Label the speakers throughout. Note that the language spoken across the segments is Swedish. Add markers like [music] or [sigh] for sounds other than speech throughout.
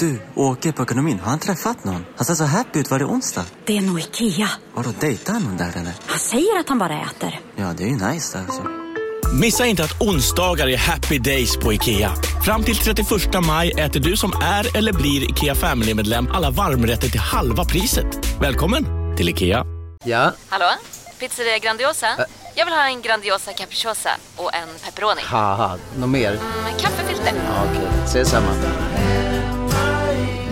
Speaker 1: Du, åker på ekonomin. Har han träffat någon? Han ser så happy ut. Var det onsdag?
Speaker 2: Det är nog Ikea.
Speaker 1: Har du dejtat någon där eller?
Speaker 2: Han säger att han bara äter.
Speaker 1: Ja, det är ju nice alltså.
Speaker 3: Missa inte att onsdagar är happy days på IKEA. Fram till 31 maj äter du som är eller blir IKEA Family-medlem alla varmrätter till halva priset. Välkommen till IKEA.
Speaker 4: Ja,
Speaker 5: Hallå? Pizzeria Grandiosa? Jag vill ha en Grandiosa capriciosa och en pepperoni.
Speaker 4: haha, något mer?
Speaker 5: Med kaffefilter.
Speaker 4: Ja, Okej, ses samma.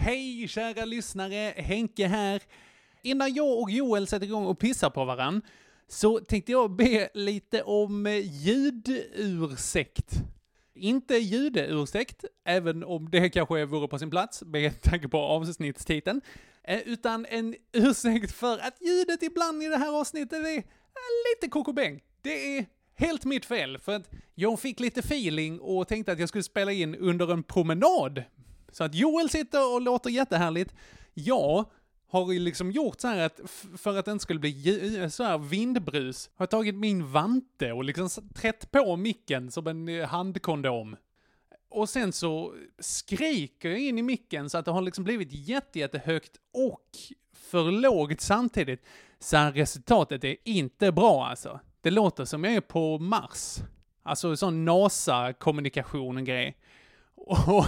Speaker 6: Hej kära lyssnare, Henke här. Innan jag och Joel sätter igång och pissar på varann så tänkte jag be lite om eh, ljudursäkt. Inte judeursäkt, även om det kanske vore på sin plats med tanke på avsnittstiteln, eh, utan en ursäkt för att ljudet ibland i det här avsnittet är eh, lite kokobäng. Det är helt mitt fel, för att jag fick lite feeling och tänkte att jag skulle spela in under en promenad så att Joel sitter och låter jättehärligt. Jag har ju liksom gjort så här att, f- för att det inte skulle bli ju- så här vindbrus, har jag tagit min vante och liksom s- trätt på micken som en eh, handkondom. Och sen så skriker jag in i micken så att det har liksom blivit jätte, jättehögt och för lågt samtidigt. Så här, resultatet är inte bra alltså. Det låter som jag är på Mars. Alltså sån NASA-kommunikation och grej. Och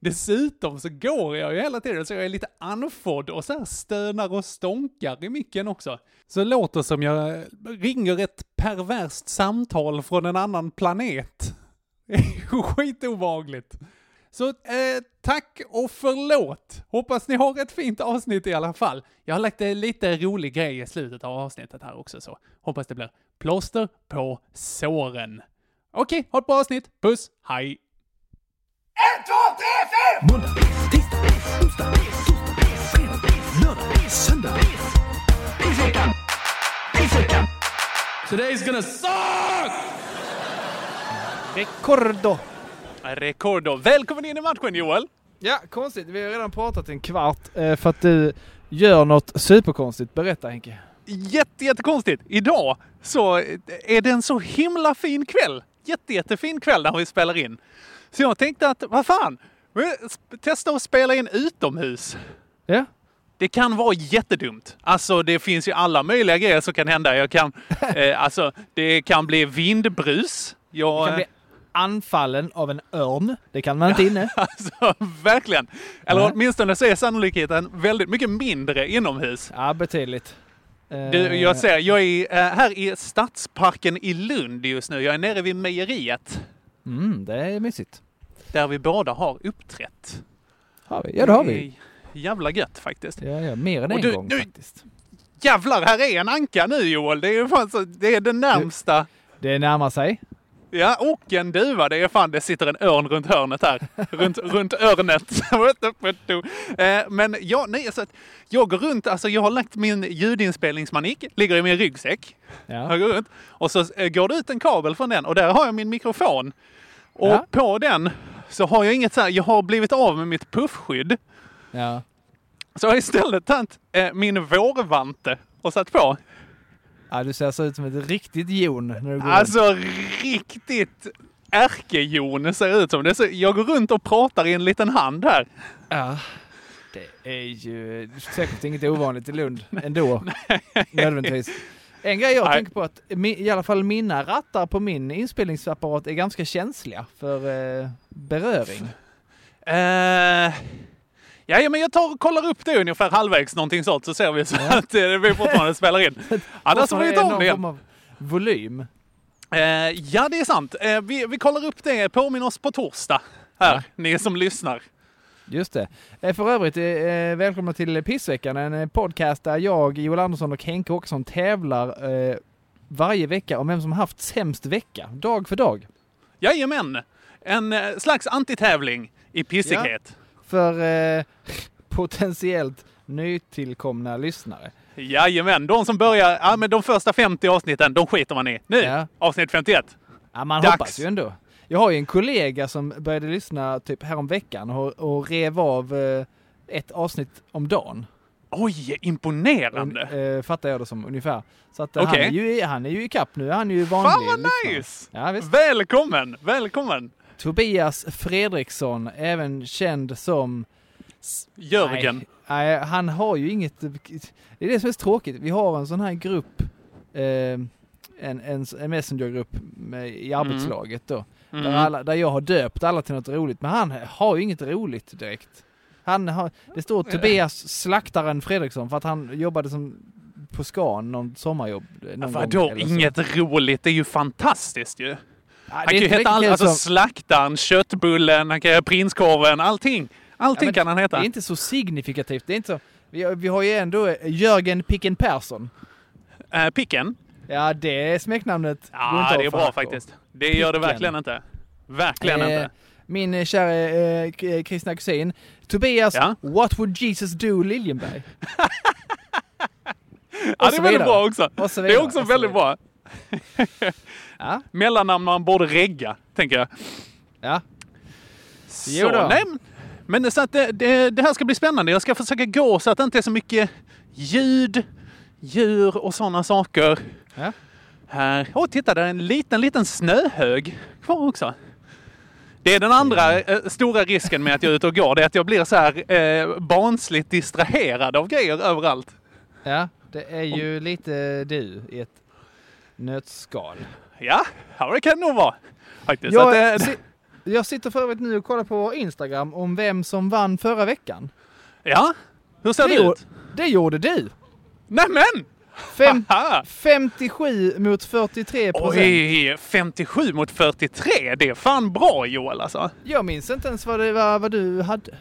Speaker 6: dessutom så går jag ju hela tiden så jag är lite andfådd och så här stönar och stånkar i micken också. Så det låter som jag ringer ett perverst samtal från en annan planet. Det är Skitobehagligt. Så eh, tack och förlåt! Hoppas ni har ett fint avsnitt i alla fall. Jag har lagt en lite rolig grej i slutet av avsnittet här också, så hoppas det blir plåster på såren. Okej, ha ett bra avsnitt. Puss, hej! Today's gonna suck!
Speaker 7: Rekordo!
Speaker 6: Rekordo. Välkommen in i matchen Joel!
Speaker 7: Ja, konstigt. Vi har redan pratat en kvart eh, för att du gör något superkonstigt. Berätta Henke.
Speaker 6: Jätte, jättekonstigt. Idag så är det en så himla fin kväll. Jätte, jättefin kväll när vi spelar in. Så jag tänkte att, vad fan, vi sp- testa att spela in utomhus.
Speaker 7: Ja?
Speaker 6: Det kan vara jättedumt. Alltså det finns ju alla möjliga grejer som kan hända. Jag kan, eh, alltså, det kan bli vindbrus. Jag,
Speaker 7: Du kan bli anfallen av en örn. Det kan man inte
Speaker 6: [laughs]
Speaker 7: inne.
Speaker 6: alltså, verkligen. Eller
Speaker 7: Nej.
Speaker 6: åtminstone så är sannolikheten väldigt mycket mindre inomhus.
Speaker 7: Ja, betydligt. Eh,
Speaker 6: Du, jag ser, jag är eh, här i Stadsparken i Lund just nu. Jag är nere vid mejeriet
Speaker 7: Mm, det är mysigt.
Speaker 6: där vi båda har uppträtt.
Speaker 7: Har vi? Ja, det har vi.
Speaker 6: är Jävla gött faktiskt.
Speaker 7: Ja, ja, mer än
Speaker 6: Och
Speaker 7: en
Speaker 6: du-
Speaker 7: gång
Speaker 6: du-
Speaker 7: faktiskt.
Speaker 6: Jävlar, här är en anka nu Joel. Det är, fan så, det, är det närmsta.
Speaker 7: Det närmar sig.
Speaker 6: Ja, och en duva. Det är fan, det sitter en örn runt hörnet här. Runt, runt örnet. [laughs] What the fuck do? Eh, Men ja, nej, så att jag går runt. Alltså jag har lagt min ljudinspelningsmanik, ligger i min ryggsäck. Jag
Speaker 7: Ja.
Speaker 6: går runt. Och så eh, går det ut en kabel från den och där har jag min mikrofon. Och
Speaker 7: Ja.
Speaker 6: på den så har jag inget så här, jag har blivit av med mitt puffskydd.
Speaker 7: ja.
Speaker 6: Så jag har istället tagit eh, min vårvante och satt på.
Speaker 7: ja du ser så ut som ett riktigt jon när du går runt.
Speaker 6: Alltså riktigt ärkejon ser det ut som. Det är så, jag går runt och pratar i en liten hand här.
Speaker 7: Ja. Det är ju säkert inget ovanligt i
Speaker 6: [laughs]
Speaker 7: Lund ändå. Nödvändigtvis. En grej jag
Speaker 6: Nej.
Speaker 7: tänker på att mi- i alla fall mina rattar på min inspelningsapparat är ganska känsliga för eh, beröring.
Speaker 6: Eh, ja, ja, men jag tar och kollar upp det ungefär halvvägs någonting sånt så ser vi så att eh, vi fortfarande spelar in. Annars får vi
Speaker 7: Fortfarande är
Speaker 6: ta om
Speaker 7: någon
Speaker 6: det igen.
Speaker 7: form av volym.
Speaker 6: Eh, ja, det är sant. Eh, vi, vi kollar upp det. Påminn oss på torsdag. Här, ni som lyssnar.
Speaker 7: Just det. Eh, För övrigt, eh, eh, välkomna till Pissveckan, en eh, podcast där jag, Joel Andersson och Henke Åkesson tävlar eh, varje vecka om vem som haft sämst vecka, dag för dag.
Speaker 6: Jajamän! En eh, slags antitävling i pissighet.
Speaker 7: för eh, [laughs] potentiellt nytillkomna lyssnare.
Speaker 6: Jajamän, de som börjar, ja men de första 50 avsnitten, de skiter man i. Nu,
Speaker 7: Ja.
Speaker 6: avsnitt 51.
Speaker 7: Ja, man
Speaker 6: Dags.
Speaker 7: hoppas ju ändå. Jag har ju en kollega som började lyssna typ häromveckan och, och rev av eh, ett avsnitt om dagen.
Speaker 6: Oj, imponerande!
Speaker 7: eh, fattar jag det som ungefär. Så att eh,
Speaker 6: Okej.
Speaker 7: han, är ju, han är ju i kapp nu, han är ju vanlig.
Speaker 6: Fan vad
Speaker 7: lyssnare.
Speaker 6: nice!
Speaker 7: Ja, visst.
Speaker 6: Välkommen, välkommen!
Speaker 7: Tobias Fredriksson, även känd som...
Speaker 6: Jörgen.
Speaker 7: Nej, nej, han har ju inget... Det är det som är så tråkigt. Vi har en sån här grupp, eh, en, en, en messengergrupp med- i arbetslaget då. Där,
Speaker 6: Mm.
Speaker 7: alla, där jag har döpt alla till något roligt, men han har ju inget roligt direkt. Han har, det står
Speaker 6: Eh.
Speaker 7: Tobias Slaktaren Fredriksson för att han jobbade som på Skan, någon sommarjobb. eh, Någon gång,
Speaker 6: Vadå
Speaker 7: eller så.
Speaker 6: inget roligt? Det är ju fantastiskt ju! Han
Speaker 7: det
Speaker 6: kan
Speaker 7: är
Speaker 6: ju
Speaker 7: inte
Speaker 6: heta allt,
Speaker 7: riktigt
Speaker 6: alltså
Speaker 7: som-
Speaker 6: slaktaren, köttbullen, han kan göra prinskorven, allting. Allting
Speaker 7: Ja, men
Speaker 6: kan han heta.
Speaker 7: Det är inte så signifikativt. Det är inte så. Vi, har- vi har ju ändå eh, Jörgen Picken Persson.
Speaker 6: Eh, picken?
Speaker 7: Ja, det är smeknamnet. går inte
Speaker 6: Ja,
Speaker 7: av
Speaker 6: det
Speaker 7: för
Speaker 6: är bra
Speaker 7: hackor.
Speaker 6: faktiskt. Det gör det
Speaker 7: Picken.
Speaker 6: verkligen inte. Verkligen
Speaker 7: Eh,
Speaker 6: inte.
Speaker 7: Min eh, kära eh, k- eh, kristna kusin Tobias
Speaker 6: Ja.
Speaker 7: What would Jesus do
Speaker 6: [laughs]
Speaker 7: Liljenberg?
Speaker 6: Ja,
Speaker 7: och så
Speaker 6: det är väldigt
Speaker 7: vidare.
Speaker 6: bra också.
Speaker 7: Och så
Speaker 6: Det är
Speaker 7: vidare,
Speaker 6: också
Speaker 7: och så
Speaker 6: väldigt bra.
Speaker 7: Ja.
Speaker 6: Mellannamn man borde regga, tänker jag.
Speaker 7: Ja. Jo
Speaker 6: Så,
Speaker 7: då.
Speaker 6: nej, men- men så att det, det, det här ska bli spännande. Jag ska försöka gå så att det inte är så mycket ljud, djur och sådana saker.
Speaker 7: Ja.
Speaker 6: Här. Åh, titta, där är en liten, liten snöhög kvar också. Det är den andra eh, stora risken med att jag är ute och går. Det är att jag blir så här eh, barnsligt distraherad av grejer överallt.
Speaker 7: ja, det är ju lite du i ett nötskal.
Speaker 6: Ja, ja, det kan det nog vara. Faktiskt. Så att,
Speaker 7: Jag,
Speaker 6: eh,
Speaker 7: si- jag sitter för övrigt nu och kollar på vår Instagram om vem som vann förra veckan.
Speaker 6: ja, hur ser det,
Speaker 7: gjorde,
Speaker 6: ut?
Speaker 7: det gjorde du!
Speaker 6: Nämen!
Speaker 7: Fem,
Speaker 6: Haha!
Speaker 7: 57 mot 43 procent.
Speaker 6: Oj, 57 mot 43. Det är fan bra Joel alltså.
Speaker 7: Jag minns inte ens vad, det var, vad du hade.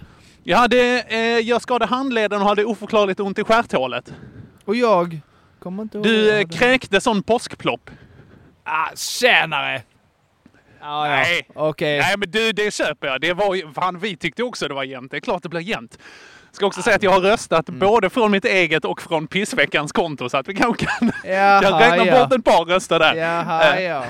Speaker 6: Jag, hade, eh, jag skadade handleden och hade oförklarligt ont i stjärthålet.
Speaker 7: Och jag kommer inte ihåg. vad
Speaker 6: Du
Speaker 7: jag
Speaker 6: eh,
Speaker 7: hade.
Speaker 6: kräkte sån påskplopp.
Speaker 7: Ah, tjänare! Ah, ja.
Speaker 6: Nej.
Speaker 7: Okej.
Speaker 6: Nej men du, det köper jag. Det var, ju- fan, vi tyckte också det var jämnt. Det är klart det blir jämnt. Ska
Speaker 7: Ah.
Speaker 6: också säga att jag har röstat
Speaker 7: Mm.
Speaker 6: både från mitt eget och från pissveckans konto så att vi kanske kan... jag
Speaker 7: Jaha, [laughs]
Speaker 6: räknar
Speaker 7: ja.
Speaker 6: bort ett par röster där.
Speaker 7: Jaha,
Speaker 6: Eh,
Speaker 7: ja.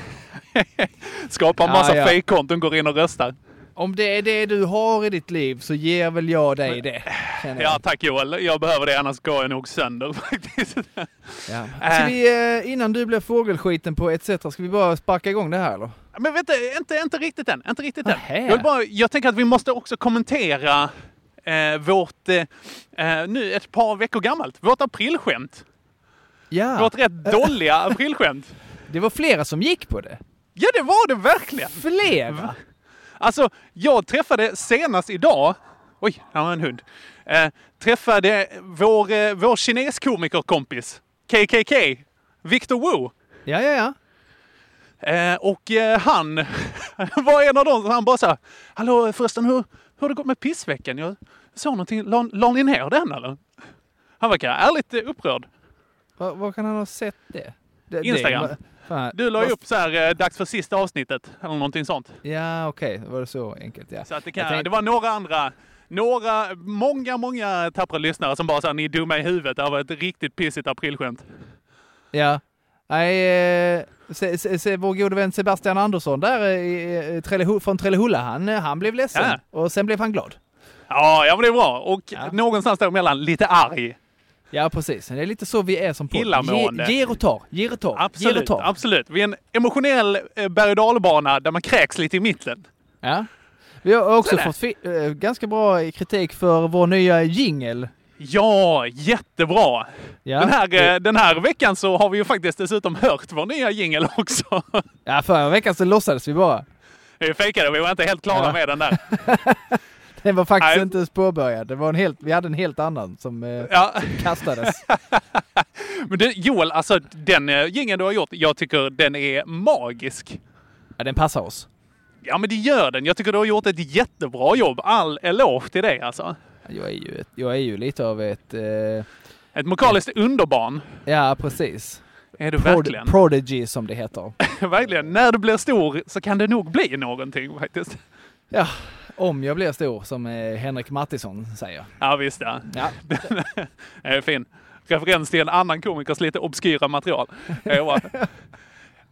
Speaker 6: Skapar en
Speaker 7: Ja,
Speaker 6: massa
Speaker 7: ja.
Speaker 6: fejkkonton, går in och röstar.
Speaker 7: Om det är det du har i ditt liv så ger väl jag dig det. känner jag.
Speaker 6: Ja tack Joel, jag behöver det annars går jag nog sönder [laughs] faktiskt.
Speaker 7: Ja. Ska
Speaker 6: Äh.
Speaker 7: vi, eh, innan du blev fågelskiten på etc. Ska vi bara sparka igång det här eller?
Speaker 6: Men vänta, inte, inte riktigt än. Inte riktigt än.
Speaker 7: Nähä.
Speaker 6: Jag, vill bara, jag tänker att vi måste också kommentera eh, vårt, eh, eh, nu ett par veckor gammalt, vårt aprilskämt.
Speaker 7: Ja,
Speaker 6: Vårt
Speaker 7: [laughs]
Speaker 6: rätt dåliga aprilskämt.
Speaker 7: det var flera som gick på det.
Speaker 6: Ja, det var det verkligen!
Speaker 7: Flera?
Speaker 6: Alltså, jag träffade senast idag, oj, här var en hund, eh, träffade vår, eh, vår kineskomikerkompis KKK, Victor Wu.
Speaker 7: Ja, ja, ja.
Speaker 6: Eh, och eh, han [laughs] var en av dem som han bara sa Hallå förresten, hur, hur har det gått med pissveckan? Jag såg någonting, la, la ni ner den eller? Han verkar ärligt eh, upprörd.
Speaker 7: Var, var kan han ha sett det? det det-
Speaker 6: Instagram.
Speaker 7: va- fan.
Speaker 6: Du la ju upp så här, eh, dags för sista avsnittet eller någonting sånt.
Speaker 7: Ja, okej. Var det så enkelt? Ja.
Speaker 6: Så att det, kan,
Speaker 7: Jag tänkte-
Speaker 6: det var några andra, några, många, många tappra lyssnare som bara sa ni är dumma i huvudet, det här var ett riktigt pissigt aprilskämt.
Speaker 7: Ja. Nej, eh, se, se, se, vår gode vän Sebastian Andersson där eh, i- i Trellehu, från Trellehulla, han, eh, han blev ledsen.
Speaker 6: Ja.
Speaker 7: Och sen blev han glad.
Speaker 6: Ja, ja men det är bra. Och någonstans däremellan lite arg.
Speaker 7: Ja, precis. Det är lite så vi är som podd.
Speaker 6: Illamående.
Speaker 7: Ge, ger och tar, ger och tar, ger och
Speaker 6: Absolut,
Speaker 7: tar.
Speaker 6: absolut. Vi är en emotionell eh, berg och dalbana där man kräks lite i mitten.
Speaker 7: Ja. Vi har också
Speaker 6: Sådär.
Speaker 7: fått fi- eh, ganska bra kritik för vår nya jingel.
Speaker 6: Ja, jättebra!
Speaker 7: Ja.
Speaker 6: Den, här,
Speaker 7: det-
Speaker 6: eh, den här veckan så har vi ju faktiskt dessutom hört vår nya jingel också. [laughs]
Speaker 7: ja, förra veckan så låtsades vi bara.
Speaker 6: Vi fejkade, vi var inte helt klara
Speaker 7: Ja.
Speaker 6: med den där.
Speaker 7: Den var faktiskt
Speaker 6: Nej.
Speaker 7: inte ens påbörjad. Det var en helt, vi hade en helt annan som eh,
Speaker 6: Ja. [laughs]
Speaker 7: kastades.
Speaker 6: Men du, Joel, alltså den eh, jingeln du har gjort, jag tycker den är magisk.
Speaker 7: Ja, den passar oss.
Speaker 6: Ja, men det gör den. Jag tycker du har gjort ett jättebra jobb. All eloge till dig alltså.
Speaker 7: Jag är ju, ett, jag är ju lite av ett... Eh,
Speaker 6: Ett mokaliskt underbarn
Speaker 7: ja, precis.
Speaker 6: är du verkligen.
Speaker 7: Prod- prodigy som det heter.
Speaker 6: [laughs] verkligen. När du blir stor så kan det nog bli någonting faktiskt.
Speaker 7: Ja, Om jag blir stor, som eh, Henrik Mattisson säger.
Speaker 6: Ja, visst ja. [laughs]
Speaker 7: Ja.
Speaker 6: Den är fin. Referens till en annan komikers lite obskyra material. Det är bra.
Speaker 7: [laughs]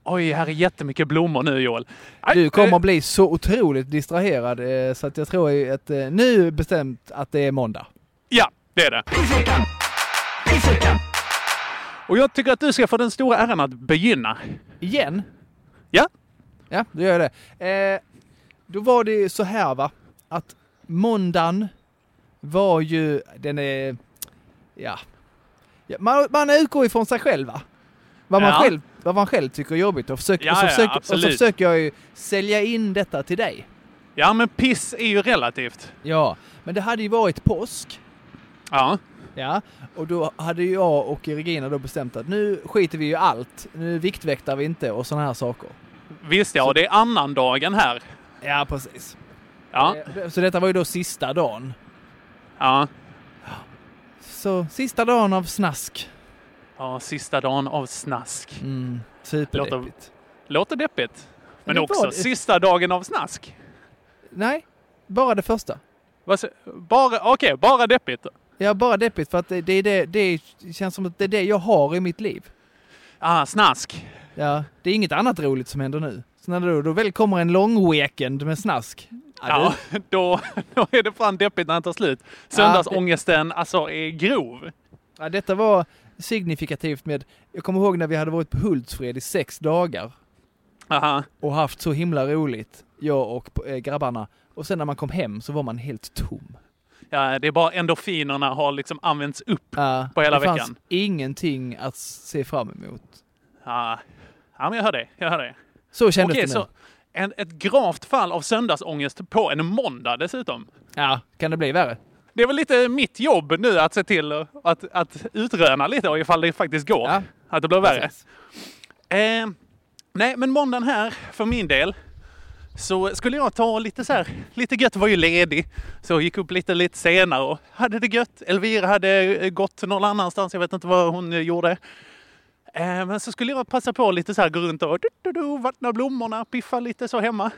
Speaker 6: Oj, här är jättemycket blommor nu Joel. Aj,
Speaker 7: Du kommer
Speaker 6: eh,
Speaker 7: att bli så otroligt distraherad eh, så att jag tror ju att eh, nu bestämt att det är måndag.
Speaker 6: Ja, det är det. Och jag tycker att du ska få den stora äran att begynna.
Speaker 7: Igen?
Speaker 6: Ja.
Speaker 7: Ja, då gör jag det. Eh, då var det ju så här va, att måndagen var ju, den är, ja, ja man, man utgår ifrån sig själv va? Vad man,
Speaker 6: Ja.
Speaker 7: själv, vad man själv tycker är jobbigt och, försöker,
Speaker 6: Ja,
Speaker 7: och, så
Speaker 6: ja,
Speaker 7: försöker, och så
Speaker 6: absolut.
Speaker 7: försöker jag ju sälja in detta till dig.
Speaker 6: Ja, men piss är ju relativt.
Speaker 7: Ja, men det hade ju varit påsk.
Speaker 6: Ja.
Speaker 7: Ja, och då hade ju jag och Regina då bestämt att nu skiter vi ju i allt. Nu viktväktar vi inte och sådana här saker.
Speaker 6: Visst ja, och det är annandagen här.
Speaker 7: Ja, precis.
Speaker 6: Ja.
Speaker 7: Eh, Så detta var ju då sista dagen.
Speaker 6: Ja.
Speaker 7: Så sista dagen av snask.
Speaker 6: ja, sista dagen av snask.
Speaker 7: Mm, superdeppigt.
Speaker 6: Låter, låter deppigt. Men
Speaker 7: det
Speaker 6: också
Speaker 7: var det.
Speaker 6: sista dagen av snask.
Speaker 7: Nej, bara det första.
Speaker 6: Vad sä- Bara, okej, bara deppigt.
Speaker 7: Ja, bara deppigt för att det, det, är det, det känns som att det är det jag har i mitt liv.
Speaker 6: Ah, snask. [laughs]
Speaker 7: Ja, det är inget annat roligt som händer nu. Så när det då, då väl kommer en lång weekend med snask.
Speaker 6: Ja,
Speaker 7: du-
Speaker 6: då, då är det fan deppigt när det tar slut. Söndagsångesten alltså är grov.
Speaker 7: Ja, detta var signifikativt med, jag kommer ihåg när vi hade varit på Hultsfred i sex dagar
Speaker 6: Aha.
Speaker 7: och haft så himla roligt, jag och eh, grabbarna. Och sen när man kom hem så var man helt tom.
Speaker 6: Ja, det är bara endorfinerna har liksom använts upp
Speaker 7: Ja,
Speaker 6: på hela
Speaker 7: det fanns
Speaker 6: veckan.
Speaker 7: ingenting att se fram emot.
Speaker 6: Ja. ja, men jag hör det. Jag hör det.
Speaker 7: Så kändes
Speaker 6: Okej,
Speaker 7: det nu.
Speaker 6: så en, ett gravt fall av söndagsångest på en måndag dessutom.
Speaker 7: Ja, kan det bli värre?
Speaker 6: Det är väl lite mitt jobb nu att se till att, att utröna lite och ifall det faktiskt går.
Speaker 7: Ja.
Speaker 6: Att det blir värre.
Speaker 7: Precis.
Speaker 6: Eh, nej, men måndagen här, för min del, så skulle jag ta lite så här, lite gött var ju ledig. Så jag gick upp lite, lite senare och hade det gött. Elvira hade eh, gått någon annanstans, jag vet inte vad hon eh, gjorde. Eh, men så skulle jag passa på lite så här, gå runt och du, du, du, vattna blommorna, piffa lite så hemma.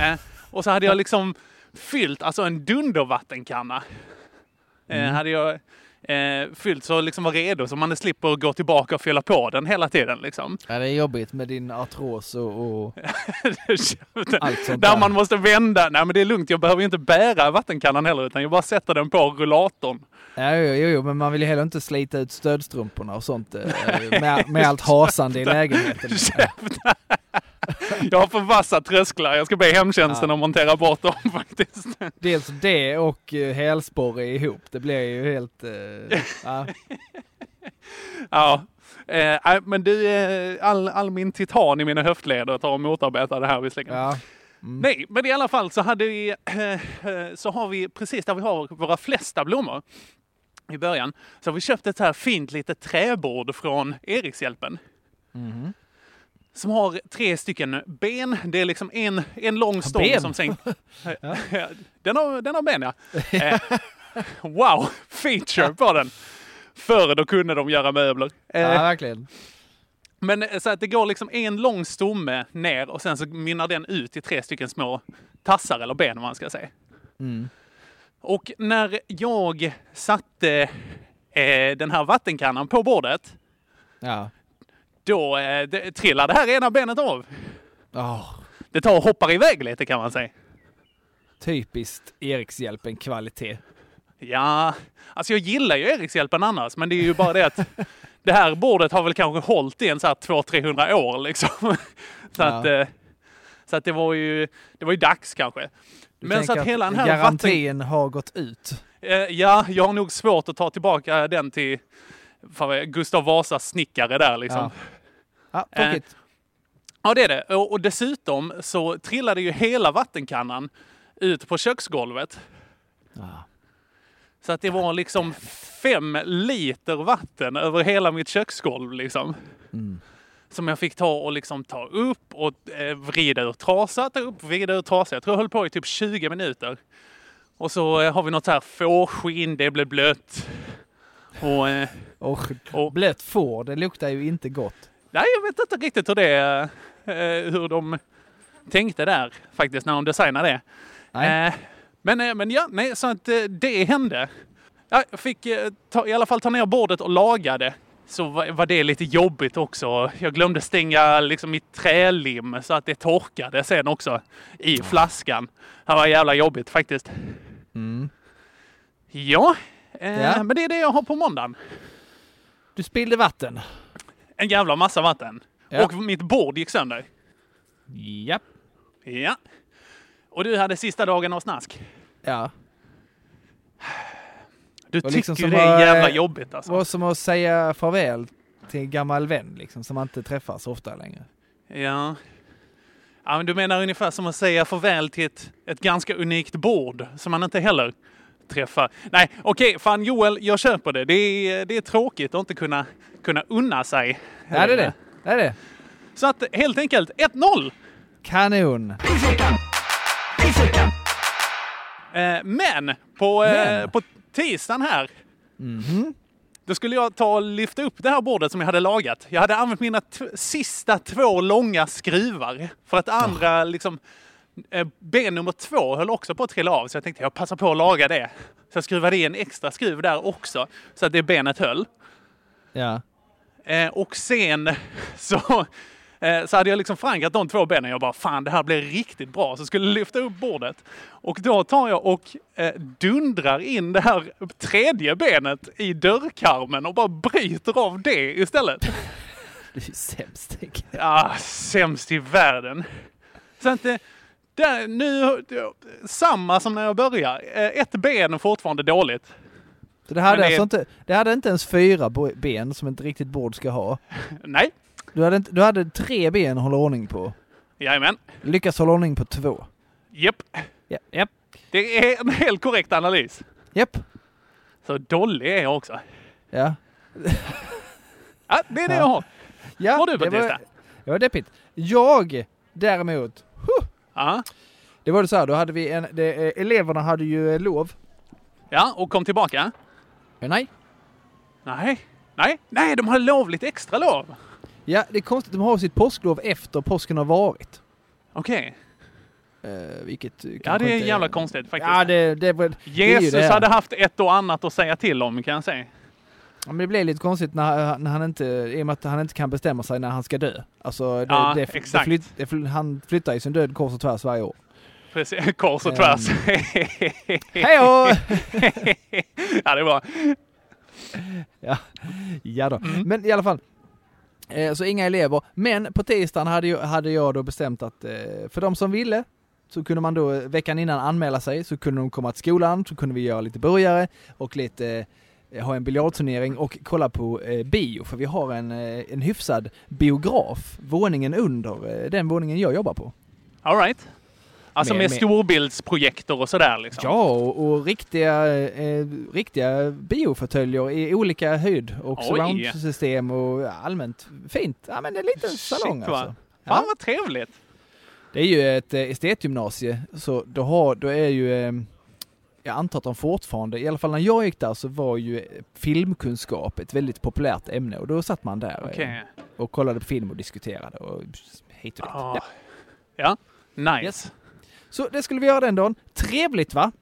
Speaker 6: Eh, och så hade jag liksom fyllt, alltså en dundervattenkanna. Eh,
Speaker 7: Mm.
Speaker 6: Hade jag eh, fyllt så liksom var redo så man slipper gå tillbaka och fylla på den hela tiden liksom. [laughs]
Speaker 7: Ja, det är jobbigt med din artros och... och... Allt sånt där.
Speaker 6: där man måste vända. Nej men det är lugnt, jag behöver ju inte bära vattenkannan heller utan jag bara sätter den på rullatorn. [laughs]
Speaker 7: Ja, jo, jo, jo, men man vill ju heller inte slita ut stödstrumporna och sånt eh, med, med allt hasande
Speaker 6: [laughs]
Speaker 7: i lägenheten.
Speaker 6: Jag har för vassa trösklar, jag ska be hemtjänsten
Speaker 7: Ja.
Speaker 6: att montera bort dem [laughs] faktiskt.
Speaker 7: Dels det och eh, hälsporre ihop. Det blir ju helt... Eh, ja.
Speaker 6: Ja. Eh, nej, men du, eh, all, all min titan i mina höftleder tar och motarbetar det här visserligen. [laughs]
Speaker 7: ja.
Speaker 6: Nej, men i alla fall så, hade vi, [clears throat] eh, eh, så har vi precis där vi har våra flesta blommor i början så har vi köpt ett så här fint litet träbord från Erikshjälpen.
Speaker 7: Mhm.
Speaker 6: Som har tre stycken ben. Det är liksom en, en lång stång
Speaker 7: ben? [laughs]
Speaker 6: som sen... [laughs] den, har, den har ben, ja. Eh, [laughs] wow, feature på den! Förr då kunde de göra möbler. Eh,
Speaker 7: ja, verkligen.
Speaker 6: men eh, så att det går liksom en lång stomme ner och sen så mynnar den ut i tre stycken små tassar eller ben om man ska säga. Och när jag satte eh, den här vattenkannan på bordet,
Speaker 7: Ja.
Speaker 6: då eh, det, trillade det här ena benet av.
Speaker 7: Oh,
Speaker 6: Det tar och hoppar iväg lite kan man säga.
Speaker 7: typiskt Erikshjälpen-kvalitet.
Speaker 6: Ja, alltså jag gillar ju Erikshjälpen annars, men det är ju bara det
Speaker 7: [laughs]
Speaker 6: att det här bordet har väl kanske hållit i en så här 200-300 år liksom. [laughs] Så,
Speaker 7: Ja.
Speaker 6: att, eh, så att det var ju, det var ju dags kanske.
Speaker 7: Du
Speaker 6: men så
Speaker 7: tänker
Speaker 6: att hela den här vatten...
Speaker 7: garantin har gått ut.
Speaker 6: Eh, ja, jag har nog svårt att ta tillbaka den till fan vad är- Gustav Vasas snickare där liksom.
Speaker 7: Ja. Ja,
Speaker 6: Eh,
Speaker 7: tråkigt.
Speaker 6: Ja, det är det. Och, och dessutom så trillade ju hela vattenkannan ut på köksgolvet. Så att det var liksom fem liter vatten över hela mitt köksgolv liksom. Som jag fick ta och liksom ta upp och eh, vrida ur trasa, ta upp, vrida ur trasa. Jag tror jag höll på i typ 20 minuter. Och så eh, har vi något så här fårskinn, det blev blött. Och eh,
Speaker 7: Och,
Speaker 6: och-
Speaker 7: blött får, det luktar ju inte gott.
Speaker 6: Nej, jag vet inte eh, riktigt hur det eh, hur de tänkte där faktiskt när de designade det. Eh, men, eh, men ja, nej, så att eh, det hände. Ja, Jag fick eh, ta, i alla fall ta ner bordet och laga det. Så var, var det lite jobbigt också. Jag glömde stänga liksom mitt trälim så att det torkade sen också i flaskan. Det var jävla jobbigt faktiskt.
Speaker 7: Mm.
Speaker 6: Ja, eh,
Speaker 7: Ja.
Speaker 6: men det är det jag har på måndagen.
Speaker 7: Du spillde vatten.
Speaker 6: En jävla massa vatten.
Speaker 7: Ja.
Speaker 6: Och mitt bord gick sönder.
Speaker 7: Ja.
Speaker 6: Ja. Och du hade sista dagen av snask.
Speaker 7: Ja.
Speaker 6: Du
Speaker 7: Det var
Speaker 6: tycker
Speaker 7: liksom som
Speaker 6: det är
Speaker 7: att-
Speaker 6: jävla jobbigt alltså.
Speaker 7: var som att säga farväl till en gammal vän liksom, som man inte träffar så ofta längre.
Speaker 6: Ja. ja men du menar ungefär som att säga farväl till ett, ett ganska unikt bord som man inte heller träffar. Nej, okej, fan Joel, jag köper det. Det är, det är tråkigt att inte kunna, kunna unna sig.
Speaker 7: Ja, det är det. det, är det.
Speaker 6: Så att helt enkelt 1-0!
Speaker 7: Kanon!
Speaker 6: Eh, men på, Eh,
Speaker 7: Men.
Speaker 6: på tisdagen här Då skulle jag ta och lyfta upp det här bordet som jag hade lagat. Jag hade använt mina t- sista två långa skruvar. För att andra, liksom, eh, ben nummer två höll också på att trilla av. Så jag tänkte jag passar på att laga det. Så jag skruvade i en extra skruv där också. Så att det benet höll.
Speaker 7: Ja.
Speaker 6: Eh, och sen [laughs] så, eh, så hade jag liksom förankrat de två benen. Jag bara, fan det här blir riktigt bra. Så skulle jag lyfta upp bordet. Och då tar jag och eh, dundrar in det här tredje benet i dörrkarmen och bara bryter av det istället.
Speaker 7: Det är ju sämst. tänker jag.
Speaker 6: Ah, sämst i världen. Så att, eh, där, nu, samma som när jag började. Eh, Ett ben är fortfarande dåligt.
Speaker 7: Så det hade,
Speaker 6: Men det-
Speaker 7: alltså inte, det hade inte ens fyra bo- ben som ett riktigt bord ska ha.
Speaker 6: Nej,
Speaker 7: Du hade, inte, du hade tre ben att hålla ordning på.
Speaker 6: jajamän,
Speaker 7: Lyckas hålla ordning på två.
Speaker 6: japp.
Speaker 7: Japp. Japp.
Speaker 6: Det är en helt korrekt analys.
Speaker 7: Japp.
Speaker 6: Så dålig är jag också.
Speaker 7: Ja.
Speaker 6: Ja, det är det jag har.
Speaker 7: ja.
Speaker 6: Har du,
Speaker 7: det
Speaker 6: Batista?
Speaker 7: var, det var deppigt. Jag däremot. huh,
Speaker 6: Ja.
Speaker 7: Det var det så här, då hade vi en, det, eh, eleverna hade ju eh, lov.
Speaker 6: ja, och kom tillbaka.
Speaker 7: Eh, Nej,
Speaker 6: Nej, nej, nej, de har lovligt extra lov.
Speaker 7: Ja, det är konstigt. De har sitt påsklov efter påsken har varit.
Speaker 6: Okej,
Speaker 7: Eh, vilket eh,
Speaker 6: ja
Speaker 7: kanske
Speaker 6: det är
Speaker 7: inte-
Speaker 6: jävla konstigt faktiskt.
Speaker 7: Ja, det, det, var- det är ju
Speaker 6: Jesus
Speaker 7: det här.
Speaker 6: hade haft ett och annat att säga till om kan jag säga.
Speaker 7: Ja, men det blev lite konstigt när, när han inte, i och med att han inte kan bestämma sig när han ska dö. Alltså, det,
Speaker 6: Ja,
Speaker 7: det, det
Speaker 6: exakt.
Speaker 7: flyt- det fly- han flyttar ju sin död kors och tvärs varje
Speaker 6: [laughs]
Speaker 7: år.
Speaker 6: Precis, [laughs] kors och
Speaker 7: Ehm.
Speaker 6: tvärs.
Speaker 7: Hej då!
Speaker 6: ja, det var.
Speaker 7: ja då. Men i alla fall. Eh, så inga elever. Men på tisdagen hade jag, hade jag då bestämt att eh, för de som ville så kunde man då eh, veckan innan anmäla sig, så kunde de komma till skolan, så kunde vi göra lite burgare och lite eh, ha en biljardturnering och kolla på eh, bio, för vi har en, eh, en hyfsad biograf, våningen under, eh, den våningen jag jobbar på.
Speaker 6: All right. Alltså
Speaker 7: Mer-
Speaker 6: med,
Speaker 7: mer-
Speaker 6: storbildsprojektor och sådär liksom.
Speaker 7: Ja, och, och riktiga, eh, riktiga biofåtöljer i olika höjd och
Speaker 6: Oj.
Speaker 7: surroundsystem och allmänt fint. Ja, men det är en liten salong
Speaker 6: Shit, va?
Speaker 7: alltså. Ja.
Speaker 6: Fan vad trevligt.
Speaker 7: Det är ju ett eh, estetgymnasie, så då, har, då är ju, eh, jag antar att de fortfarande, i alla fall när jag gick där så var ju eh, filmkunskap ett väldigt populärt ämne och då satt man där eh,
Speaker 6: Okej.
Speaker 7: och kollade på film och diskuterade och hit och dit.
Speaker 6: Ah.
Speaker 7: Ja.
Speaker 6: Ja, nice.
Speaker 7: Yes. Så det skulle vi göra den dagen. Trevligt va?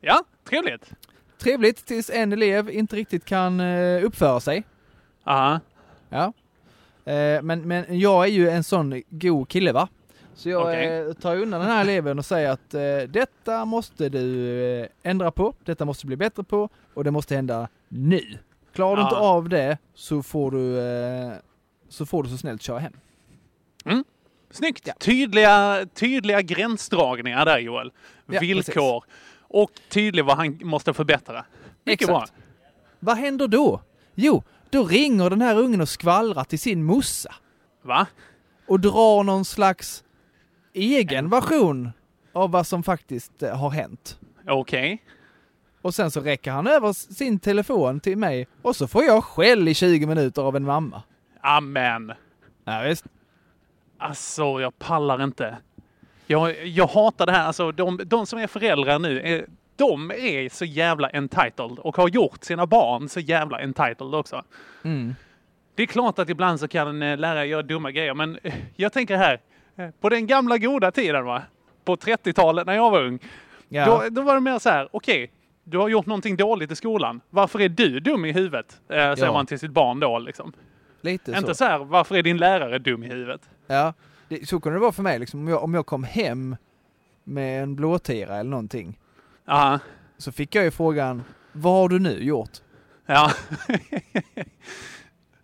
Speaker 6: Ja, trevligt.
Speaker 7: Trevligt tills en elev inte riktigt kan eh, uppföra sig.
Speaker 6: Ja,
Speaker 7: Ja. Eh, Men, men jag är ju en sån god kille va? Så jag
Speaker 6: Okej.
Speaker 7: eh, tar undan den här eleven och säger att eh, detta måste du eh, ändra på, detta måste du bli bättre på och det måste hända nu. Klarar du
Speaker 6: Ja.
Speaker 7: inte av det så får du eh, så får du så snällt köra hem.
Speaker 6: Snyggt!
Speaker 7: Ja.
Speaker 6: Tydliga, tydliga gränsdragningar där Joel.
Speaker 7: Ja,
Speaker 6: Villkor. Och tydligt vad han måste förbättra. Mycket
Speaker 7: Exakt.
Speaker 6: bra.
Speaker 7: Vad händer då? Jo, då ringer den här ungen och skvallrar till sin mossa
Speaker 6: Va?
Speaker 7: och drar någon slags egen version av vad som faktiskt eh, har hänt.
Speaker 6: Okej.
Speaker 7: Och sen så räcker han över sin telefon till mig och så får jag skäll i 20 minuter av en mamma.
Speaker 6: Amen.
Speaker 7: Ja, visst.
Speaker 6: Alltså, jag pallar inte. Jag, jag hatar det här. Alltså, de, de som är föräldrar nu, är, de är så jävla entitled och har gjort sina barn så jävla entitled också.
Speaker 7: Mm.
Speaker 6: Det är klart att ibland så kan eh, lärare göra dumma grejer, men eh, jag tänker här. eh, På den gamla goda tiden, va? På 30-talet när jag var ung.
Speaker 7: Ja.
Speaker 6: Då, då var det mer så här, okej, du har gjort någonting dåligt i skolan. Varför är du dum i huvudet? Eh, säger
Speaker 7: Ja.
Speaker 6: man till sitt barn då liksom.
Speaker 7: Lite
Speaker 6: Inte
Speaker 7: så.
Speaker 6: så här, varför är din lärare dum i huvudet?
Speaker 7: Ja, det, så kunde det vara för mig. Liksom, om, jag, om jag kom hem med en blåtira eller någonting
Speaker 6: Ja,
Speaker 7: så fick jag ju frågan Vad har du nu gjort?
Speaker 6: ja, [laughs]
Speaker 7: In,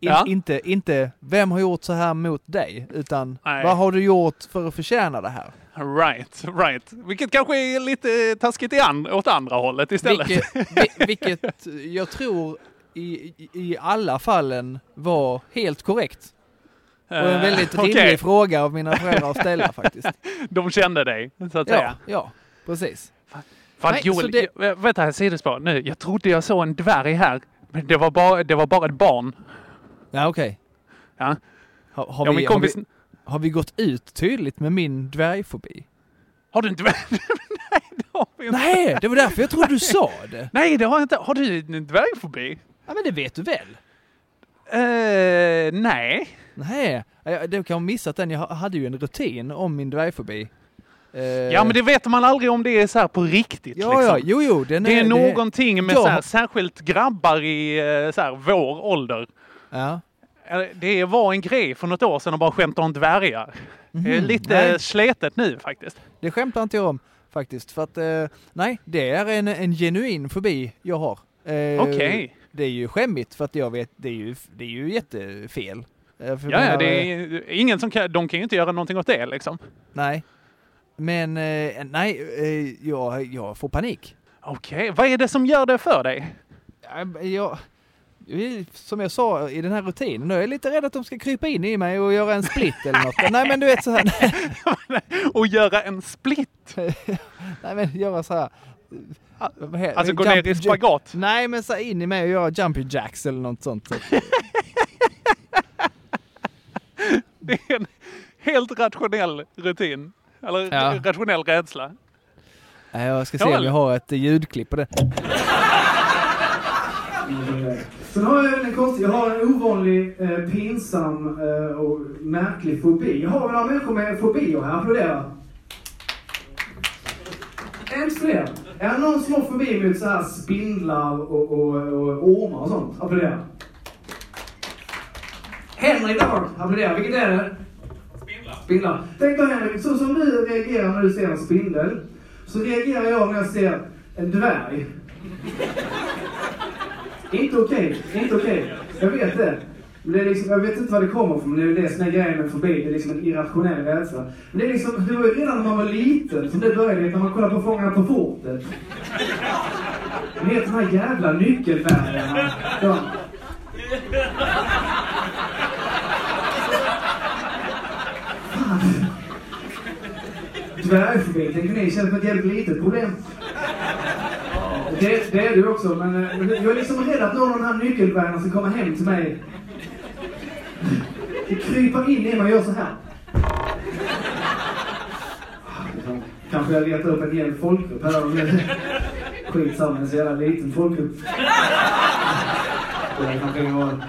Speaker 6: Ja.
Speaker 7: inte, inte vem har gjort så här mot dig utan
Speaker 6: Nej.
Speaker 7: vad har du gjort för att förtjäna det här?
Speaker 6: right, right. Vilket kanske är lite taskigt i an- åt andra hållet istället.
Speaker 7: Vilket, vi, vilket jag tror i, i- i alla fallen var helt korrekt. Och en
Speaker 6: Eh,
Speaker 7: väldigt
Speaker 6: okej.
Speaker 7: rimlig fråga av mina föräldrar att
Speaker 6: [laughs]
Speaker 7: ställa faktiskt.
Speaker 6: De kände dig, så att
Speaker 7: Ja,
Speaker 6: säga.
Speaker 7: ja, precis.
Speaker 6: Fan,
Speaker 7: Nej, så
Speaker 6: Joel,
Speaker 7: det-
Speaker 6: jag, vänta här, sidospår. Nu, jag trodde jag såg en dvärg här. Men det var bara, det var bara ett barn.
Speaker 7: Ja, okej.
Speaker 6: Ja.
Speaker 7: Har, har,
Speaker 6: Ja,
Speaker 7: vi,
Speaker 6: min kompis...
Speaker 7: har, vi, har vi gått ut tydligt med min dvärgfobi?
Speaker 6: Har du en dvärg? [laughs] Nej, det har vi inte.
Speaker 7: Nej, det var därför jag trodde du sa det.
Speaker 6: Nej, det har jag inte. Har du en dvärgfobi?
Speaker 7: [laughs] Ja, men det vet du väl?
Speaker 6: Eh, nej.
Speaker 7: Nej, jag- du kan ha missat den. Jag ha- hade ju en rutin om min dvärgfobi. Eh,
Speaker 6: Ja, men det vet man aldrig om det är så här på riktigt.
Speaker 7: Ja,
Speaker 6: liksom.
Speaker 7: ja, jo, jo. Den
Speaker 6: Det är någonting med
Speaker 7: jag
Speaker 6: så här,
Speaker 7: har-
Speaker 6: särskilt grabbar i eh, så här, vår ålder.
Speaker 7: Ja.
Speaker 6: Eh, Det var en grej för något år sedan att bara skämta om dvärgar. Det är lite
Speaker 7: Mhm. nej.
Speaker 6: sletet nu faktiskt.
Speaker 7: Det skämtar inte jag om faktiskt. För att, eh, nej, det är en, en genuin fobi jag har. Eh,
Speaker 6: Okej.
Speaker 7: Det är ju skämmigt för att jag vet, det är ju, det är ju jättefel. Eh, för jag
Speaker 6: Ja, ja,
Speaker 7: menar,
Speaker 6: det
Speaker 7: eh,
Speaker 6: är ingen som kan, de kan ju inte göra någonting åt det liksom.
Speaker 7: Nej. Men eh, nej, eh, jag, jag får panik.
Speaker 6: Okej, vad är det som gör det för dig?
Speaker 7: Jag, jag, som jag sa i den här rutinen, jag är lite rädd att de ska krypa in i mig och göra en split eller
Speaker 6: [laughs]
Speaker 7: något. Nej men du vet så här, [laughs]
Speaker 6: Att göra en split?
Speaker 7: nej men göra så här. vad heter-
Speaker 6: Alltså gå
Speaker 7: jump-
Speaker 6: ner i spagat?
Speaker 7: Nej, men så här in i mig och göra jumpy jacks eller något sånt. typ. Så.
Speaker 6: Det är en helt rationell rutin. Eller
Speaker 7: Ja.
Speaker 6: rationell rädsla.
Speaker 7: Nej, Jag ska se
Speaker 6: Ja,
Speaker 7: om
Speaker 6: eller?
Speaker 7: jag har ett eh, ljudklipp på det.
Speaker 8: Sen har jag en konstig, jag har en ovanlig, eh, pinsam eh, och märklig fobi. Jag har några människor med fobier här. Applådera. En fler. Är det någon som har fobi mot så här spindlar och, och, och ormar och sånt? Applådera. Henry Dark. Applådera. Vilket är det? Spindlar. Tänk då Henrik, så som du reagerar när du ser en spindel, så reagerar jag när jag ser en dvärg. Inte okej, inte okej. Jag vet det. Men det är liksom, jag vet inte var det kommer ifrån, men det är det som är grejen med fobi. Det är liksom en irrationell rädsla. Men det är liksom, det var ju redan när man var liten som det började, när man kollade på Fångarna på fortet. Vad heter de här jävla nyckelfärgerna? [laughs] Ja. Fan. Dvärgfobi, tänker ni, känns som ett jävligt litet problem. Det, det är du också, men eh, jag är liksom rädd att någon av de här nyckelbärarna ska komma hem till mig. Det kryper in i mig och gör så här. Kanske jag letar upp en hel folkgrupp här. Men skitsamma, en så jävla liten folkgrupp. Det kanske var en-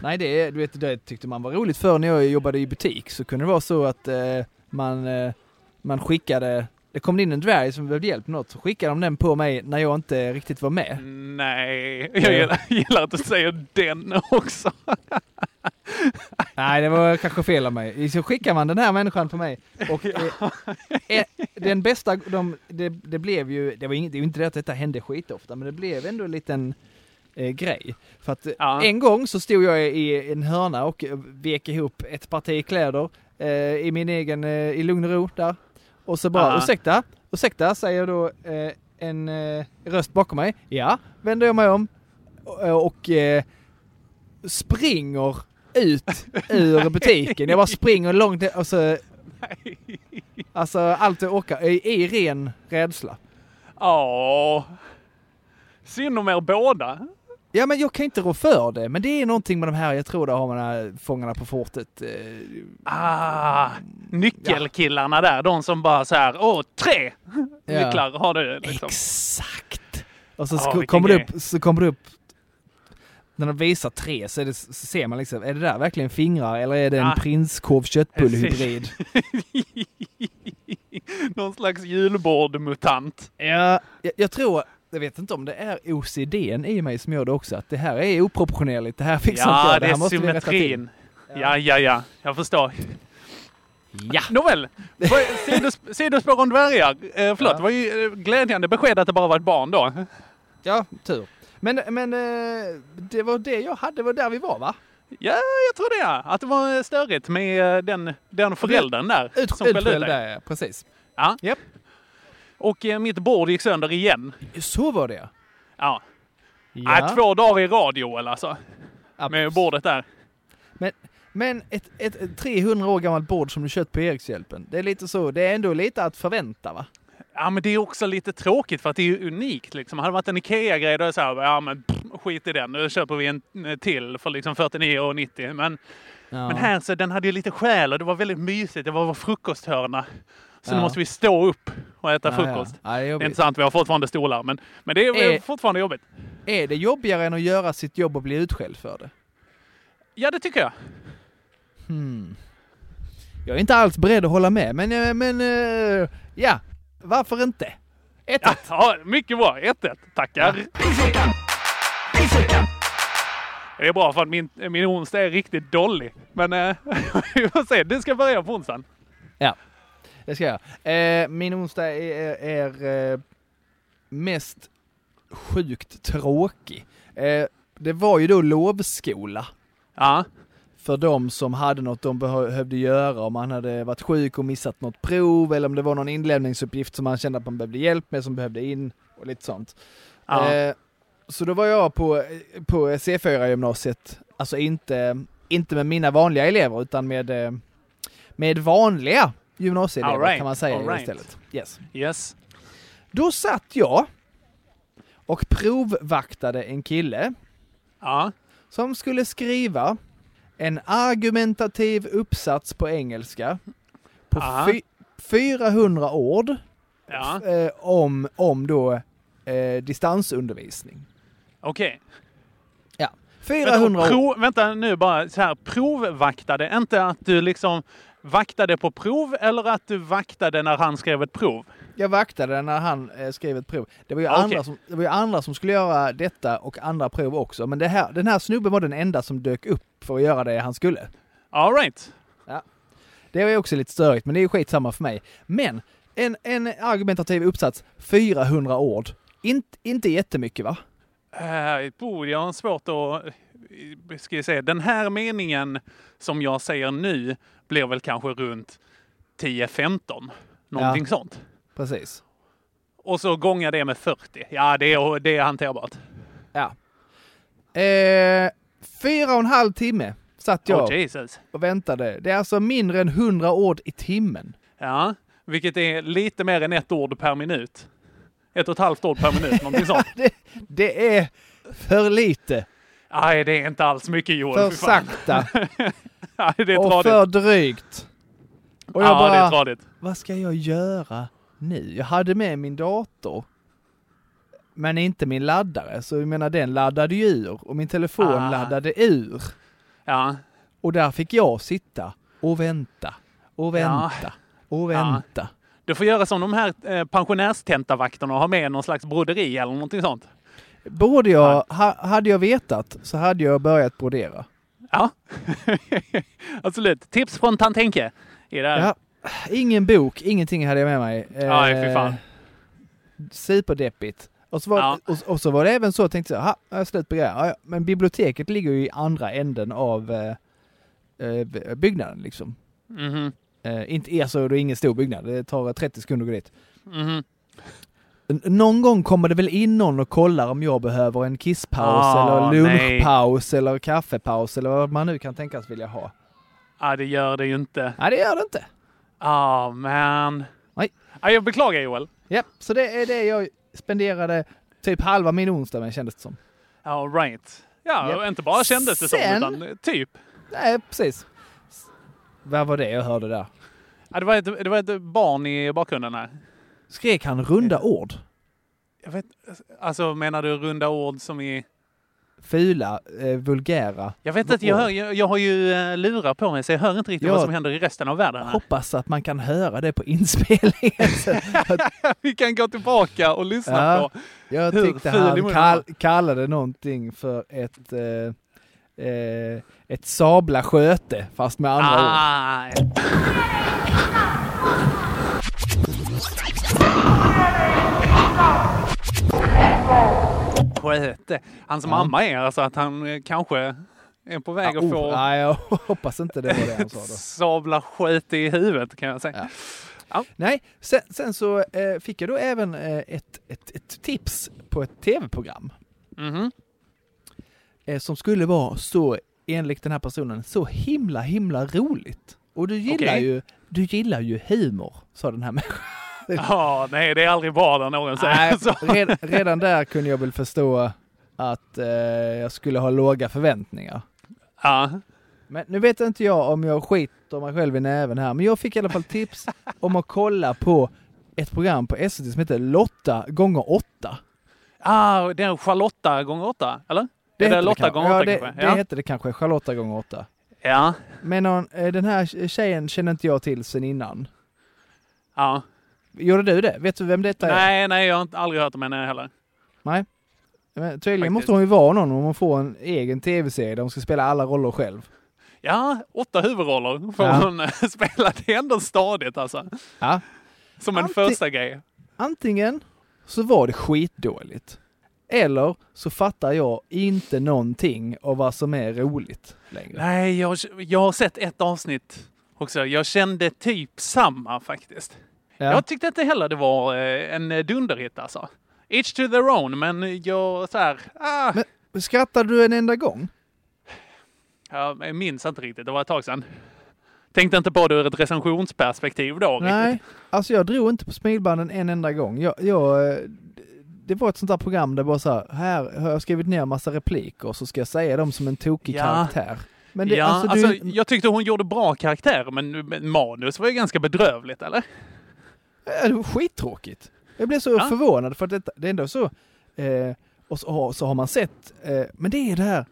Speaker 7: Nej, det, är- du vet, det tyckte man var roligt förr när jag jobbade i butik så kunde det vara så att eh, man, eh, man skickade, det kom in en dvärg som behövde hjälp med något, så skickade de den på mig när jag inte riktigt var med.
Speaker 6: Nej, jag gillar, gillar att du säger den också. [laughs]
Speaker 7: Nej, det var kanske fel av mig. Så skickar man den här människan på mig och eh, eh, den bästa, de, det, det blev ju, det var ing, det är ju inte det att detta hände skitofta, men det blev ändå en liten eh, grej. För att eh,
Speaker 6: Ja.
Speaker 7: en gång så stod jag i en hörna och eh, vek ihop ett parti kläder eh, i min egen, eh, i lugn och ro där. Och så bara,
Speaker 6: Ja.
Speaker 7: ursäkta, ursäkta, säger då eh, en eh, röst bakom mig. Ja, vänder jag mig om och, och eh, springer ut ur butiken. Jag bara springer långt ner och så... Alltså allt jag orkar i, i ren rädsla.
Speaker 6: Ja. Synd om er båda.
Speaker 7: Ja men jag kan inte rå för det, men det är någonting med de här, jag tror det har man här Fångarna på fortet. eh,
Speaker 6: Ah,
Speaker 7: Mm,
Speaker 6: nyckelkillarna där, de som bara så här, åh, tre
Speaker 7: Ja.
Speaker 6: nycklar har du. Liksom.
Speaker 7: Exakt! Och så,
Speaker 6: Ja,
Speaker 7: sk-
Speaker 6: vilken
Speaker 7: kommer det
Speaker 6: grej.
Speaker 7: upp, så kommer det upp, när de visar tre så, är det, så ser man liksom, är det där verkligen fingrar eller är det en
Speaker 6: Ja.
Speaker 7: prinskorv köttbullehybrid?
Speaker 6: [laughs] Någon slags julbordmutant.
Speaker 7: Ja, jag, jag tror, jag vet inte om det är OCDn i mig som gör det också, att det här är oproportionerligt, det här fixar inte
Speaker 6: Ja,
Speaker 7: jag,
Speaker 6: det
Speaker 7: här
Speaker 6: är
Speaker 7: måste vi rätta till.
Speaker 6: symmetrin. Ja, ja, ja. Jag förstår. Ja. Nåväl.
Speaker 7: [laughs]
Speaker 6: Vad- sidos- Sidospår om dvärgar. Eh, förlåt, det var ju eh, glädjande besked att det bara var ett barn då.
Speaker 7: Ja, tur. Men, men eh, det var det jag hade, det var där vi var va?
Speaker 6: Ja, jag tror det. Ja. Att det var eh, störigt med eh, den, den föräldern där.
Speaker 7: Ut,
Speaker 6: skällde ut
Speaker 7: utskälld
Speaker 6: dig.
Speaker 7: där, ja, precis.
Speaker 6: Ja. Och eh, mitt bord gick sönder igen.
Speaker 7: Så var det
Speaker 6: Ja.
Speaker 7: Ja.
Speaker 6: Nej, två dagar i rad Joel alltså. Med bordet där.
Speaker 7: Men, men ett, ett, ett 300 år gammalt bord som du köpt på Erikshjälpen, det är lite så, det är ändå lite att förvänta va?
Speaker 6: Ja, men det är också lite tråkigt för att det är ju unikt. Liksom. Hade det varit en Ikea-grej då är det så här, ja men pff, skit i den, nu köper vi en eh, till för liksom 49,90. Men, men här så den hade ju lite själ och det var väldigt mysigt. Det var vår frukosthörna. Så nu
Speaker 7: Ja.
Speaker 6: måste vi stå upp och äta
Speaker 7: Ja,
Speaker 6: frukost.
Speaker 7: ja. Ja, det är
Speaker 6: det är
Speaker 7: jobbigt.
Speaker 6: inte sant, vi har fortfarande stolar. Men, men det är
Speaker 7: Eh.
Speaker 6: eh, fortfarande jobbigt.
Speaker 7: Är det jobbigare än att göra sitt jobb och bli utskälld för det?
Speaker 6: Ja, det tycker jag.
Speaker 7: Hmm. Jag är inte alls beredd att hålla med, men, eh, men eh, ja, varför inte? Ett,
Speaker 6: ja, ja, mycket bra. 1-1. Tackar. Det är bra för att min, min onsdag är riktigt dålig. Men eh, [laughs] vi får se. Du ska börja på onsdagen.
Speaker 7: Ja, det ska jag. Eh, min onsdag är, är, eh, mest sjukt tråkig. Eh, det var ju då lovskola.
Speaker 6: Ja.
Speaker 7: För de som hade något de behövde göra, om man hade varit sjuk och missat något prov eller om det var någon inlämningsuppgift som man kände att man behövde hjälp med som behövde in och lite sånt.
Speaker 6: Ja.
Speaker 7: Eh, så då var jag på, eh, på C4-gymnasiet, alltså inte, inte med mina vanliga elever utan med, eh, med vanliga gymnasieelever
Speaker 6: All right,
Speaker 7: kan man säga
Speaker 6: all right.
Speaker 7: istället. Yes.
Speaker 6: Yes.
Speaker 7: Då satt jag och provvaktade en kille
Speaker 6: Ja.
Speaker 7: som skulle skriva en argumentativ uppsats på engelska på
Speaker 6: Ja.
Speaker 7: fy- 400 ord
Speaker 6: Ja.
Speaker 7: eh, om, om då eh, distansundervisning.
Speaker 6: Okej.
Speaker 7: Ja.
Speaker 6: Vänta,
Speaker 7: 400
Speaker 6: och
Speaker 7: ord.
Speaker 6: prov, vänta nu bara så här. Provvaktade. Inte att du liksom vaktade på prov eller att du vaktade när han skrev ett prov.
Speaker 7: Jag vaktade när han eh, skrev ett prov. Det var, ju
Speaker 6: Ah, okej.
Speaker 7: andra som, det var ju andra som skulle göra detta och andra prov också. Men det här, den här snubben var den enda som dök upp för att göra det han skulle.
Speaker 6: All right.
Speaker 7: Det var ju också lite störigt, men det är ju skitsamma för mig. Men en, en argumentativ uppsats, 400 ord. Inte, inte jättemycket va?
Speaker 6: Eh, bo, jag har svårt att... eh, Ska jag säga, den här meningen som jag säger nu blir väl kanske runt 10-15. Någonting
Speaker 7: Ja.
Speaker 6: sånt.
Speaker 7: Precis.
Speaker 6: Och så gånga det med 40. Ja, det är, det är hanterbart.
Speaker 7: Ja. Eh, fyra och en halv timme satt jag
Speaker 6: Oh, Jesus.
Speaker 7: och väntade. Det är alltså mindre än 100 ord i timmen.
Speaker 6: Ja, vilket är lite mer än ett ord per minut. Ett och ett halvt ord per minut,
Speaker 7: [laughs]
Speaker 6: någonting sånt.
Speaker 7: Det, det är för lite,
Speaker 6: Nej, det är inte alls mycket Joel.
Speaker 7: för
Speaker 6: fy fan.
Speaker 7: sakta
Speaker 6: [laughs] Nej, det är
Speaker 7: och
Speaker 6: tradigt.
Speaker 7: för drygt. Och jag
Speaker 6: ja, det
Speaker 7: bara,
Speaker 6: är tradigt.
Speaker 7: vad ska jag göra nu? Jag hade med min dator, men inte min laddare. Så jag menar, den laddade ju ur och min telefon
Speaker 6: Ah.
Speaker 7: laddade ur.
Speaker 6: Ja,
Speaker 7: Och där fick jag sitta och vänta och
Speaker 6: Ja.
Speaker 7: vänta och vänta.
Speaker 6: du får göra som de här eh, pensionärstentavakterna och ha med någon slags broderi eller någonting sånt.
Speaker 7: Borde jag, ha, hade jag vetat så hade jag börjat brodera.
Speaker 6: Ja, [laughs] absolut. Tips från tant Henke. I det här.
Speaker 7: Ja. Ingen bok, ingenting hade jag med mig.
Speaker 6: Nej, fy fan.
Speaker 7: Eh, Superdeppigt. Och så, var,
Speaker 6: Ja.
Speaker 7: och, och så var det även så, tänkte jag, ha, jag har slut på grejer. Ja, ja. Men biblioteket ligger ju i andra änden av eh, eh, b- byggnaden liksom.
Speaker 6: Mhm,
Speaker 7: Eh, inte, alltså det är ingen stor byggnad, det tar 30 sekunder att gå dit.
Speaker 6: mhm.
Speaker 7: N- Någon gång kommer det väl in någon och kollar om jag behöver en kisspaus
Speaker 6: Ah,
Speaker 7: eller
Speaker 6: nej.
Speaker 7: lunchpaus eller kaffepaus eller vad man nu kan tänkas vilja ha.
Speaker 6: Ja, det gör det ju inte.
Speaker 7: Nej, det gör det inte.
Speaker 6: Ah, man.
Speaker 7: Nej.
Speaker 6: Ja, jag beklagar Joel.
Speaker 7: Ja, så det är det jag spenderade typ halva min onsdag med kändes det som.
Speaker 6: All right. Ja,
Speaker 7: Japp.
Speaker 6: inte bara kändes det
Speaker 7: Sen-
Speaker 6: som, utan typ.
Speaker 7: Nej, precis. S- Vad var det jag hörde där?
Speaker 6: Ja, det, var ett, det var ett barn i bakgrunden här.
Speaker 7: Skrek
Speaker 6: Eh.
Speaker 7: han runda ord?
Speaker 6: Jag vet, alltså menar du runda ord som i...
Speaker 7: fula, eh, vulgära.
Speaker 6: Jag vet att jag, hör, jag, jag har ju eh, lurar på mig så jag hör inte riktigt
Speaker 7: Ja.
Speaker 6: vad som händer i resten av världen. Här.
Speaker 7: Hoppas att man kan höra det på inspelningen.
Speaker 6: [laughs] Vi kan gå tillbaka och lyssna
Speaker 7: Ja,
Speaker 6: på
Speaker 7: jag
Speaker 6: hur
Speaker 7: tyckte
Speaker 6: ful i
Speaker 7: han
Speaker 6: munnen
Speaker 7: kall,
Speaker 6: var.
Speaker 7: kallade någonting för ett, eh, eh, ett sabla sköte, fast med andra ord.
Speaker 6: Ah, Sköte. Hans mamma är alltså att han eh, kanske är på väg att
Speaker 7: oh,
Speaker 6: få
Speaker 7: Nej, jag [laughs] hoppas inte det var det han sa
Speaker 6: [laughs]
Speaker 7: då.
Speaker 6: sabla sköte i huvudet kan jag säga.
Speaker 7: Nej, sen, sen så eh, fick jag då även eh, ett, ett, ett tips på ett tv-program.
Speaker 6: Mhm.
Speaker 7: Eh, som skulle vara så, enligt den här personen, så himla himla roligt. Och du gillar
Speaker 6: Okej.
Speaker 7: ju, du gillar ju humor, sa den här människan.
Speaker 6: Ja, nej det är aldrig bra när någon säger
Speaker 7: Nej,
Speaker 6: [laughs] så.
Speaker 7: red, redan där kunde jag väl förstå att eh, jag skulle ha låga förväntningar.
Speaker 6: Ja.
Speaker 7: Men nu vet inte jag om jag skiter mig själv i näven här, men jag fick i alla fall tips om att kolla på ett program på SVT som heter Lotta gånger åtta.
Speaker 6: Ah, det är Charlotta gånger åtta, eller? Det är
Speaker 7: hette
Speaker 6: det Lotta
Speaker 7: kanske.
Speaker 6: gånger åtta
Speaker 7: ja, det,
Speaker 6: kanske?
Speaker 7: det
Speaker 6: Ja.
Speaker 7: hette det kanske, Charlotta gånger åtta.
Speaker 6: Ja.
Speaker 7: Men någon, eh, den här tjejen känner inte jag till sen innan.
Speaker 6: ja.
Speaker 7: Gjorde du det? Vet du vem detta är?
Speaker 6: Nej, nej, jag har inte- aldrig hört om henne heller.
Speaker 7: Nej. Men tydligen måste hon ju vara någon om hon får en egen tv-serie där hon ska spela alla roller själv.
Speaker 6: Ja, åtta huvudroller får
Speaker 7: Ja.
Speaker 6: hon eh, [laughs] spela. Det är ändå stadigt alltså.
Speaker 7: Ja.
Speaker 6: Som en
Speaker 7: Alltid-
Speaker 6: första grej.
Speaker 7: Antingen så var det skitdåligt. Eller så fattar jag inte någonting av vad som är roligt längre.
Speaker 6: Nej, jag, jag har sett ett avsnitt också. Jag kände typ samma faktiskt.
Speaker 7: Ja.
Speaker 6: Jag tyckte inte heller det var eh, en dunderhit alltså. Each to their own, men jag så här, ah,
Speaker 7: Men skrattade du en enda gång?
Speaker 6: jag minns inte riktigt. Det var ett tag sedan. Tänkte inte på det ur ett recensionsperspektiv då.
Speaker 7: Nej,
Speaker 6: Riktigt.
Speaker 7: alltså jag drog inte på smilbanden en enda gång. Jag, jag, eh, d- det var ett sånt där program där bara så här, här har jag skrivit ner massa repliker så ska jag säga dem som en tokig
Speaker 6: Ja.
Speaker 7: karaktär. Men det,
Speaker 6: ja,
Speaker 7: alltså, du,
Speaker 6: alltså, jag tyckte hon gjorde bra karaktärer, men, men manus var ju ganska bedrövligt, eller?
Speaker 7: Ja, Äh, det var skittråkigt. Jag blev så
Speaker 6: Ja.
Speaker 7: förvånad för att detta, det är ändå så. Eh, och så, har- så har man sett, eh, men det är det här,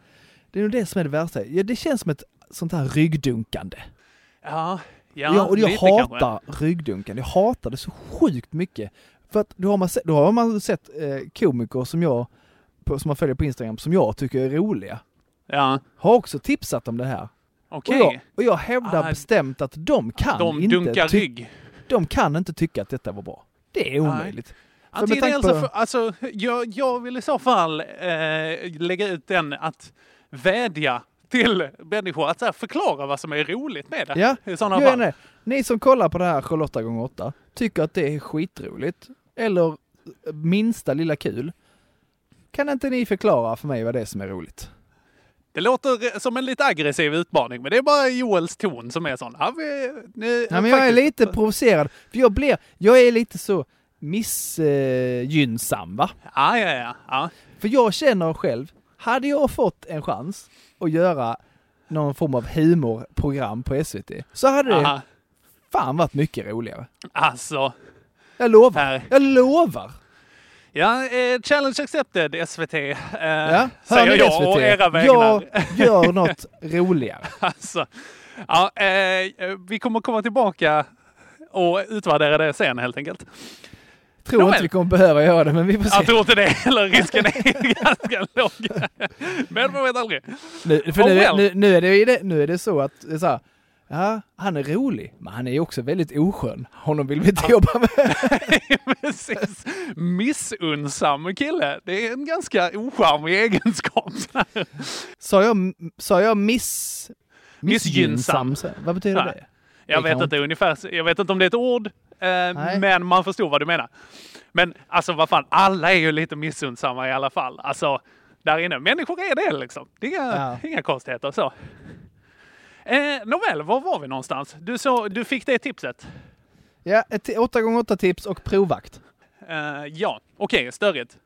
Speaker 7: det är nog det som är det värsta. Ja, det känns som ett sånt här ryggdunkande.
Speaker 6: Ja, ja,
Speaker 7: Ja, och jag
Speaker 6: lite
Speaker 7: hatar
Speaker 6: kanske.
Speaker 7: ryggdunkande, jag hatar det så sjukt mycket. För att då har man sett, då har man sett eh, komiker som jag, på, som man följer på Instagram, som jag tycker är roliga.
Speaker 6: Ja,
Speaker 7: Har också tipsat om det här.
Speaker 6: okej.
Speaker 7: Och, jag, och jag hävdar
Speaker 6: Ah.
Speaker 7: bestämt att de kan
Speaker 6: De
Speaker 7: inte
Speaker 6: dunkar
Speaker 7: ty-
Speaker 6: rygg.
Speaker 7: De kan inte tycka att detta var bra. Det är omöjligt. För med
Speaker 6: Antingen
Speaker 7: tanke
Speaker 6: alltså,
Speaker 7: på-
Speaker 6: för, alltså, jag, jag vill i så fall eh, lägga ut den att vädja till människor att så här, förklara vad som är roligt med det.
Speaker 7: Ja,
Speaker 6: [laughs] I sådana
Speaker 7: gör
Speaker 6: fall.
Speaker 7: det. Ni som kollar på det här Charlotta gånger 8 tycker att det är skitroligt, eller eh, minsta lilla kul. Kan inte ni förklara för mig vad det är som är roligt?
Speaker 6: det låter som en lite aggressiv utmaning, men det är bara Joels ton som är sån. Ja, vi, nu,
Speaker 7: Nej, men jag är
Speaker 6: faktiskt-
Speaker 7: lite provocerad, för jag blir, jag är lite så missgynnsam va?
Speaker 6: Ja, ja, ja. ja.
Speaker 7: För jag känner själv, hade jag fått en chans att göra någon form av humorprogram på SVT så hade det
Speaker 6: Aha.
Speaker 7: fan varit mycket roligare.
Speaker 6: Alltså.
Speaker 7: Jag lovar,
Speaker 6: Här.
Speaker 7: jag lovar!
Speaker 6: Ja, eh, challenge accepted SVT. Eh,
Speaker 7: Ja, hör
Speaker 6: säger
Speaker 7: ni
Speaker 6: jag
Speaker 7: SVT?
Speaker 6: och era
Speaker 7: jag
Speaker 6: vägnar.
Speaker 7: gör något roligare.
Speaker 6: Alltså, ja, eh, vi kommer komma tillbaka och utvärdera det sen helt enkelt.
Speaker 7: Tror
Speaker 6: Nåväl.
Speaker 7: inte vi kommer behöva göra det, men vi får
Speaker 6: Jag
Speaker 7: se.
Speaker 6: tror inte det [laughs] heller. Risken är ganska låg. Men man vet aldrig. [laughs]
Speaker 7: Nu, för
Speaker 6: Oh,
Speaker 7: nu,
Speaker 6: well.
Speaker 7: nu, nu, är det, ju det- nu är det så att, det är så här, ja, han är rolig, men han är ju också väldigt oskön. Honom vill vi inte jobba med.
Speaker 6: Precis. Missunnsam kille. Det är en ganska ocharmig egenskap.
Speaker 7: Sa jag, sa jag miss...
Speaker 6: Missgynnsam.
Speaker 7: missgynnsam? Vad betyder
Speaker 6: Nej.
Speaker 7: det?
Speaker 6: Jag
Speaker 7: Det
Speaker 6: vet,
Speaker 7: kan
Speaker 6: inte ungefär, jag vet inte om det är ett ord, eh, men man förstår vad du menar. Men alltså vad fan, alla är ju lite missundsamma i alla fall. Alltså, där inne. Människor är det liksom. Det är inga,
Speaker 7: Ja.
Speaker 6: inga konstigheter så. Eh, nåväl, var var vi någonstans? Du, så, du fick det tipset.
Speaker 7: Ja, ett 8x8 tips och provvakt.
Speaker 6: Eh, ja, okej, störigt.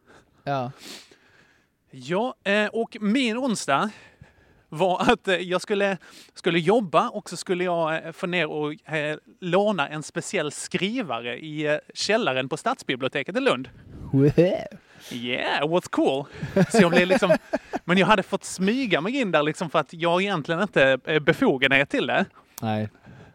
Speaker 7: Ja.
Speaker 6: Ja, eh, och min onsdag var att eh, jag skulle, skulle jobba och så skulle jag eh, få ner och eh, låna en speciell skrivare i eh, källaren på Stadsbiblioteket i Lund. Yeah, what's cool? Så jag blev liksom, men jag hade fått smyga mig in där liksom för att jag egentligen inte eh, befogenhet till det.
Speaker 7: Nej.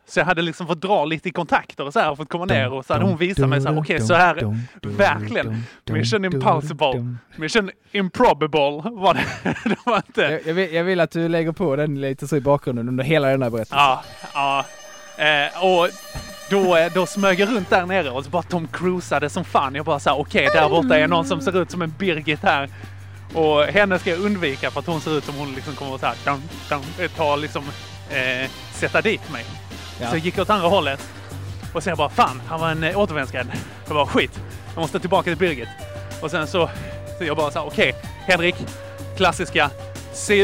Speaker 6: Så jag hade liksom fått dra lite i kontakter och så här och fått komma ner och så hade hon visat mig så här, okej så här, verkligen, mission impossible, mission improbable var det. det [laughs] var inte.
Speaker 7: Jag vill, jag vill att du lägger på den lite så i bakgrunden under hela den här berättelsen.
Speaker 6: Ja, ja. Eh, och då, eh, då smög jag runt där nere och så bara Tom Cruisade som fan. Jag bara så här, okej, där borta är någon som ser ut som en Birgit här. Och henne ska jag undvika för att hon ser ut som hon liksom kommer att så här, dum, dum, eh, ta liksom, eh, sätta dit mig.
Speaker 7: Ja.
Speaker 6: Så jag gick åt andra hållet. Och sen jag bara, fan, han var en eh, återvändsgränd. Jag bara, skit, jag måste tillbaka till Birgit. Och sen så, så jag bara så här, okej, Henrik, klassiska, se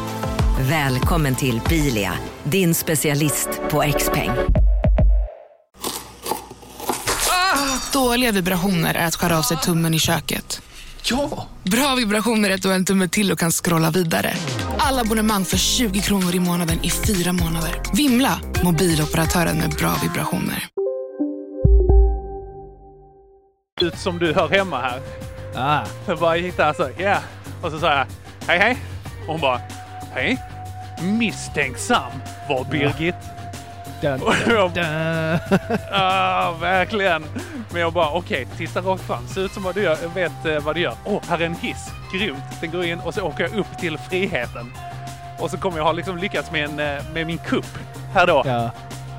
Speaker 9: Välkommen till Bilia, din specialist på XPeng.
Speaker 10: Dåliga vibrationer är att skära av sig tummen i köket. Ja! Bra vibrationer är att du har en tumme till och kan scrolla vidare. Alla abonnemang för 20 kronor i månaden i fyra månader. Vimla! Mobiloperatören med bra vibrationer.
Speaker 6: ut som du hör hemma här.
Speaker 7: Ah.
Speaker 6: Jag bara gick där så, ja. Och så sa jag, hej hej. Och hon bara, hej. Misstänksam var Birgit.
Speaker 7: Dun,
Speaker 6: Och jag-
Speaker 7: dun.
Speaker 6: [laughs] ah, verkligen. Men jag bara, okej, titta rakt fram. Se ut som vad du gör, vet eh, vad du gör. Åh, här är en hiss. Grymt. Den går in och så åker jag upp till friheten. Och så kommer jag ha liksom lyckats med, en, eh, med min kupp här då.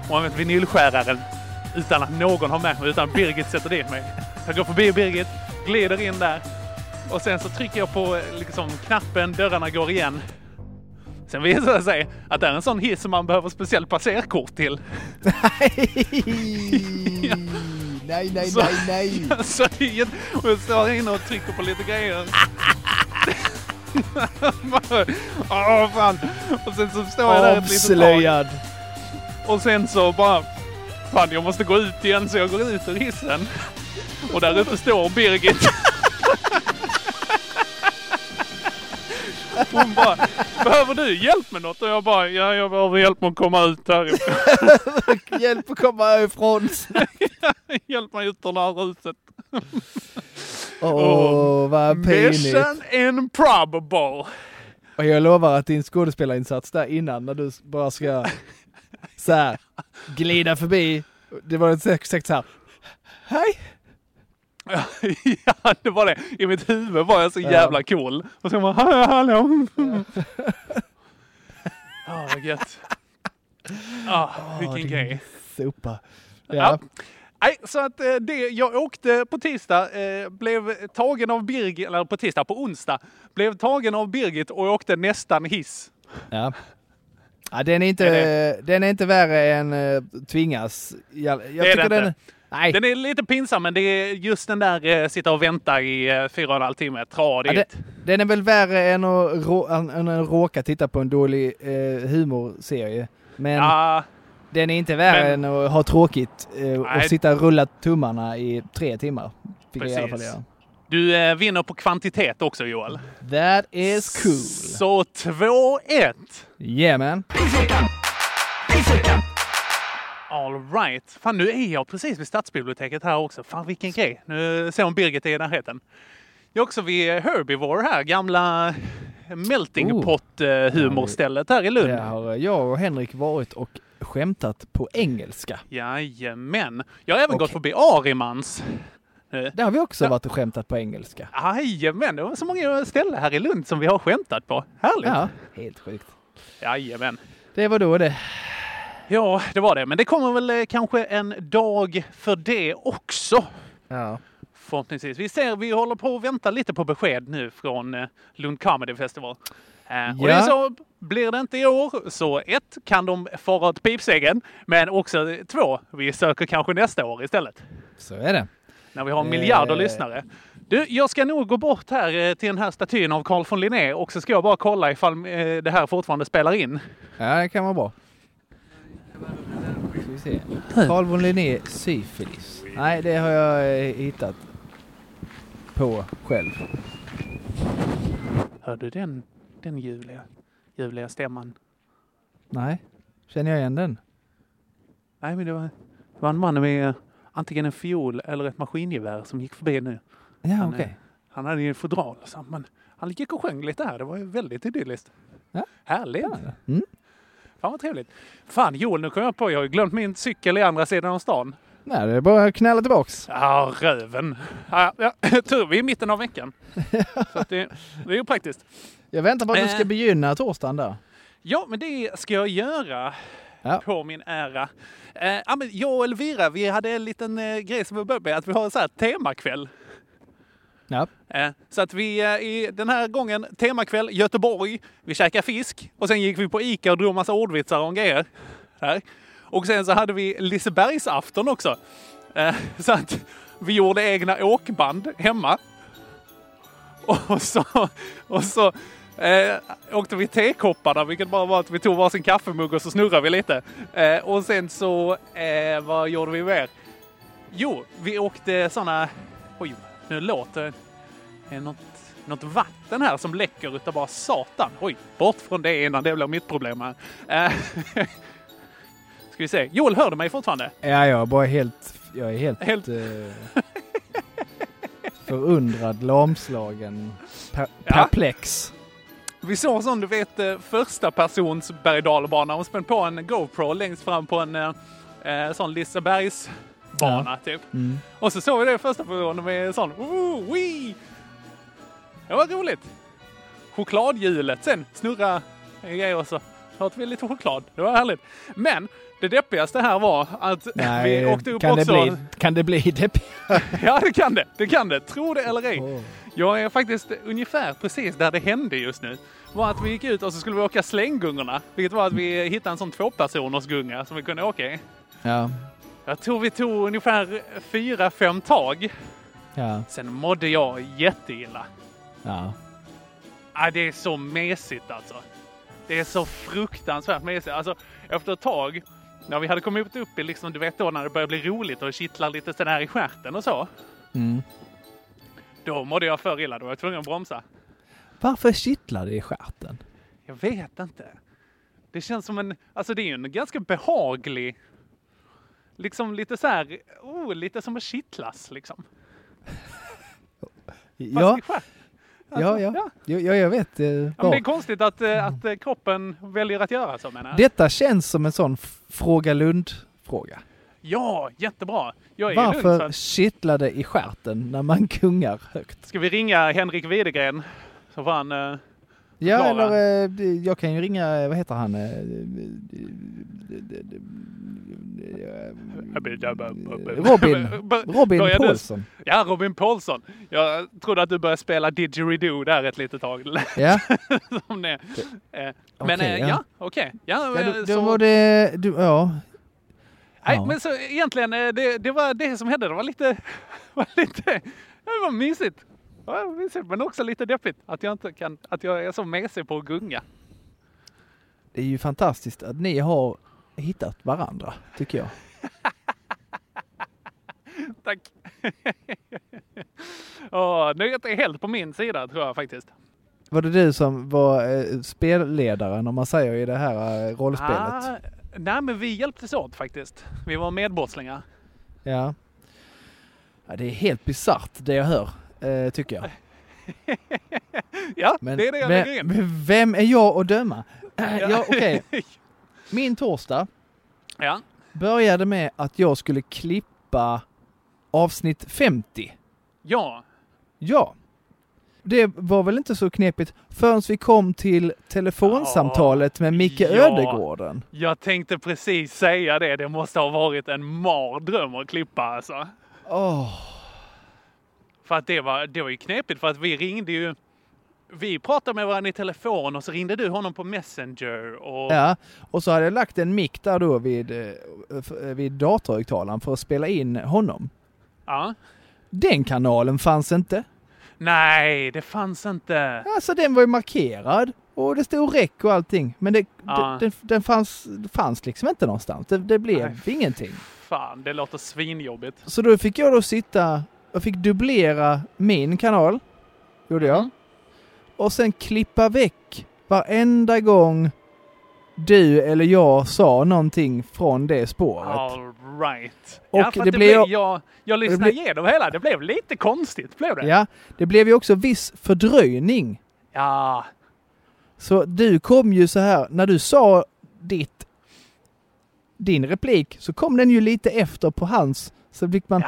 Speaker 6: Och använt vinylskäraren utan att någon har märkt mig, utan Birgit sätter dit mig. Jag går förbi Birgit, glider in där och sen så trycker jag på eh, liksom, knappen, dörrarna går igen. Sen visar det sig att det är en sån hiss som man behöver speciellt passerkort till.
Speaker 11: Nej, nej,
Speaker 6: Så-
Speaker 11: nej,
Speaker 7: [laughs]
Speaker 11: nej.
Speaker 6: [laughs] Så jag, och jag står inne och trycker på lite grejer. Åh fan! Och sen så står jag där ett litet tag.
Speaker 7: Avslöjad.
Speaker 6: Och sen så bara... Fan, jag måste gå ut igen så jag går ut ur hissen. Och där ute står Birgit. Hon bara, behöver du hjälp med något? Och jag bara, ja jag behöver hjälp med att komma ut härifrån.
Speaker 7: Hjälp att komma [laughs] härifrån.
Speaker 6: [laughs] hjälp mig ut ur det här huset.
Speaker 7: Åh,
Speaker 6: Åh,
Speaker 7: vad pinigt.
Speaker 6: Mission improbable.
Speaker 7: Och jag lovar att din skådespelarinsats där innan, när du bara ska så här, glida förbi. Det var exakt så här. Hej!
Speaker 6: [laughs] ja, det var det. I mitt huvud var jag så jävla cool. Och så bara, hallå,
Speaker 7: [laughs]
Speaker 6: hallå. Ja, vad gött. Ah, vilken
Speaker 7: din
Speaker 6: grej.
Speaker 7: Sopa. Ja.
Speaker 6: Ja. Nej, så att eh, det, jag åkte på tisdag, eh, blev tagen av Birgit, eller på tisdag, på onsdag, blev tagen av Birgit och jag åkte nästan hiss.
Speaker 7: Ja. Ja, den, är inte,
Speaker 6: Är
Speaker 7: den är inte värre än eh, tvingas. Jag, jag
Speaker 6: det är
Speaker 7: tycker
Speaker 6: det
Speaker 7: den,
Speaker 6: inte. Den är lite pinsam, men det är just den där eh, sitta och vänta i eh, fyra och en halv timme,
Speaker 7: ja,
Speaker 6: tradigt.
Speaker 7: den, den är väl värre än att, rå, än, än att råka titta på en dålig eh, humorserie. Men
Speaker 6: Ja.
Speaker 7: den är inte värre
Speaker 6: Men-
Speaker 7: än att ha tråkigt eh, och
Speaker 6: Nej.
Speaker 7: sitta och rulla tummarna i tre timmar. Fick jag i alla fall
Speaker 6: Precis.
Speaker 7: göra.
Speaker 6: Du eh, vinner på kvantitet också Joel.
Speaker 7: That is cool.
Speaker 6: Så 2-1.
Speaker 7: Yeah man.
Speaker 6: All right. Fan, nu är jag precis vid stadsbiblioteket här också. Fan, vilken grej. Nu ser hon Birgit är i närheten. Jag är också vid Herbivore här, gamla melting
Speaker 7: Oh.
Speaker 6: pot eh, humorstället här i Lund.
Speaker 7: Där har eh, jag och Henrik varit och skämtat på engelska.
Speaker 6: Jajamän. Jag har även gått förbi Arimans.
Speaker 7: Där har vi också varit och skämtat på engelska.
Speaker 6: Jajamän, det var så många ställen här i Lund som vi har skämtat på. Härligt!
Speaker 7: Ja, helt sjukt.
Speaker 6: Jajamän.
Speaker 7: Det var då det.
Speaker 6: Ja, det var det. Men det kommer väl eh, kanske en dag för det också.
Speaker 7: Ja.
Speaker 6: Förhoppningsvis. Vi ser, vi håller på att vänta lite på besked nu från eh, Lund Comedy Festival. Eh, Och det är
Speaker 7: Ja.
Speaker 6: så, blir det inte i år så ett, kan de fara åt pipsäcken. Men också eh, två, vi söker kanske nästa år istället.
Speaker 7: Så är det.
Speaker 6: när vi har miljarder
Speaker 12: Eh.
Speaker 6: lyssnare. Du, jag ska nog gå bort här eh, till den här statyn av Carl von Linné och så ska jag bara kolla ifall eh, det här fortfarande spelar in.
Speaker 7: Ja, det kan vara bra. Ska vi se. Carl von Linné, syfilis. Nej, det har jag eh, hittat på själv.
Speaker 6: Hör du den, den ljuvliga, ljuvliga stämman?
Speaker 7: Nej, känner jag igen den?
Speaker 6: Nej, men det var, det var en man med eh, antingen en fiol eller ett maskingevär som gick förbi nu.
Speaker 7: Ja,
Speaker 6: Han, eh,
Speaker 7: okej.
Speaker 6: Han hade ju fodral och så, men han gick och sjöng lite här. Det var ju väldigt idylliskt. Härligt!
Speaker 7: Mm.
Speaker 6: Fan vad trevligt. Fan Joel, nu kom jag på, jag har ju glömt min cykel i andra sidan av stan.
Speaker 7: Nej, det är bara att knalla tillbaks.
Speaker 6: Ja, röven. Ja, ja, [laughs] tur, vi är i mitten av veckan. Så att det, det är ju praktiskt.
Speaker 7: Jag väntar på att du
Speaker 6: Eh.
Speaker 7: ska begynna torsdagen där.
Speaker 6: Ja, men det ska jag göra. På min ära. Eh, ja, men jag och Elvira, vi hade en liten eh, grej som vi började med. Att vi har en så här temakväll.
Speaker 7: Ja.
Speaker 6: Eh, så att vi eh, i den här gången, temakväll, Göteborg. Vi käkade fisk och sen gick vi på Ica och drog massa ordvitsar om grejer. Där. Och sen så hade vi Lisebergsafton också. Eh, så att vi gjorde egna åkband hemma. Och så, och så eh, åkte vi tekopparna, vilket bara var att vi tog varsin kaffemugg och så snurrade vi lite. Eh, och sen så, eh, vad gjorde vi mer? Jo, vi åkte såna... Oj, nu låter det Eh, något, något vatten här som läcker utav bara satan. Oj, bort från det innan det blir mitt problem här. Eh, [laughs] ska vi se. Joel, hör du mig fortfarande?
Speaker 7: Ja, jag är bara helt... Jag är helt...
Speaker 6: Helt-
Speaker 7: eh, förundrad, lamslagen, per, perplex.
Speaker 6: Vi såg sån, du vet, eh, första persons berg och dalbana. Hon spände på en GoPro längst fram på en eh, eh, sån Lisebergsbana, typ.
Speaker 7: Mm.
Speaker 6: Och så såg vi det i första personen med sån... Ooh, wee! Det var roligt! Chokladhjulet sen, snurra eh, grejer och så åt vi lite choklad. Det var härligt. Men det deppigaste här var att vi åkte upp
Speaker 7: kan,
Speaker 6: också...
Speaker 7: det bli, kan det bli deppigt?
Speaker 6: [laughs] Ja, det kan det. Det kan det. Tro det eller ej. Jag är faktiskt ungefär precis där det hände just nu. var att vi gick ut och så skulle vi åka slänggungorna. Vilket var att vi hittade en sån tvåpersonersgunga som vi kunde åka i.
Speaker 7: Ja.
Speaker 6: Jag tror vi tog ungefär fyra, fem tag.
Speaker 7: Ja.
Speaker 6: Sen mådde jag jätteilla.
Speaker 7: Ja.
Speaker 6: Ah, det är så mesigt alltså. Det är så fruktansvärt mesigt. Alltså, efter ett tag, när vi hade kommit upp i liksom, du vet då när det börjar bli roligt och kittlar lite sådär i stjärten och så.
Speaker 7: Mm.
Speaker 6: Då mådde jag för illa. Då var jag tvungen att bromsa.
Speaker 7: Varför kittlar det i stjärten?
Speaker 6: Jag vet inte. Det känns som en, alltså det är ju en ganska behaglig, liksom lite så här, oh, lite som att kittlas liksom.
Speaker 7: Ja,
Speaker 6: Alltså,
Speaker 7: ja, ja. ja, ja jag vet. eh,
Speaker 6: Ja, men det
Speaker 7: var.
Speaker 6: är konstigt att, eh, att eh, kroppen väljer att göra så menar jag.
Speaker 7: Detta känns som en sån f- Fråga Lund-fråga.
Speaker 6: Ja, jättebra. Jag är Varför? Lugn, så
Speaker 7: Varför
Speaker 6: att,
Speaker 7: kittlar det i stjärten när man [laughs] gungar högt?
Speaker 6: ska vi ringa Henrik Widegren? Så får han... eh,
Speaker 7: Ja,
Speaker 6: förklara.
Speaker 7: eller eh, det- jag kan ju ringa, eh, vad heter
Speaker 6: [laughs]
Speaker 7: han? eh, Eh, Robin. Robin
Speaker 6: [laughs] Börjar du-
Speaker 7: Paulsson.
Speaker 6: Ja, Robin Paulsson. Jag trodde att du började spela didgeridoo där ett litet tag. [laughs]
Speaker 7: Ja.
Speaker 6: Som det. Eh,
Speaker 7: Okej,
Speaker 6: Men eh,
Speaker 7: ja.
Speaker 6: ja, okej. Ja,
Speaker 7: Ja,
Speaker 6: eh,
Speaker 7: då,
Speaker 6: så-
Speaker 7: då var det, du, ja.
Speaker 6: Nej,
Speaker 7: Ja.
Speaker 6: men så egentligen, eh, det, det var det som hände. Det var lite, [laughs] var lite det var mysigt. Det var mysigt. Men också lite deppigt att jag, inte kan, att jag är så mesig på att gunga.
Speaker 7: Det är ju fantastiskt att ni har hittat varandra, tycker jag.
Speaker 6: Tack! [laughs] Åh, nöjet är helt på min sida tror jag faktiskt.
Speaker 7: Var det du som var eh, spelledaren, om man säger, i det här eh, rollspelet?
Speaker 6: Ah, nej, men vi hjälptes åt faktiskt. Vi var medbrottslingar.
Speaker 7: Ja. ja. Det är helt bisarrt det jag hör, eh, tycker
Speaker 6: [laughs]
Speaker 7: jag.
Speaker 6: Ja,
Speaker 7: Men,
Speaker 6: det är det jag
Speaker 7: men-
Speaker 6: lägger in.
Speaker 7: men vem är jag att döma? Äh,
Speaker 6: [laughs] Ja.
Speaker 7: ja,
Speaker 6: [laughs]
Speaker 7: okej. Min torsdag
Speaker 6: Ja.
Speaker 7: började med att jag skulle klippa avsnitt 50.
Speaker 6: Ja.
Speaker 7: Ja. Det var väl inte så knepigt förrän vi kom till telefonsamtalet med Micke Ödegården.
Speaker 6: Jag tänkte precis säga det. Det måste ha varit en mardröm att klippa alltså.
Speaker 7: Åh,
Speaker 6: För att det var, det var ju knepigt för att vi ringde ju. Vi pratade med varandra i telefon och så ringde du honom på Messenger och
Speaker 7: Ja, och så hade jag lagt en mick där då vid, eh, f- eh, vid datorhögtalaren för att spela in honom.
Speaker 6: ja.
Speaker 7: Den kanalen fanns inte.
Speaker 6: Nej, det fanns inte.
Speaker 7: Alltså den var ju markerad och det stod räck och allting. Men det,
Speaker 6: Ja.
Speaker 7: den, den fanns, fanns liksom inte någonstans. Det, det blev ingenting.
Speaker 6: Fan, det låter svinjobbigt.
Speaker 7: Så då fick jag då sitta, jag fick dubblera min kanal, gjorde
Speaker 6: Mm.
Speaker 7: jag. Och sen klippa väck varenda gång du eller jag sa någonting från det spåret.
Speaker 6: All right.
Speaker 7: Och
Speaker 6: ja, för
Speaker 7: det
Speaker 6: att det
Speaker 7: blir-
Speaker 6: blev, jag, jag lyssnade
Speaker 7: blir-
Speaker 6: igenom hela. Det blev lite konstigt. Blev det?
Speaker 7: Ja, det blev ju också viss fördröjning.
Speaker 6: Ja.
Speaker 7: Så du kom ju så här, när du sa ditt, din replik så kom den ju lite efter på hans. Så fick man...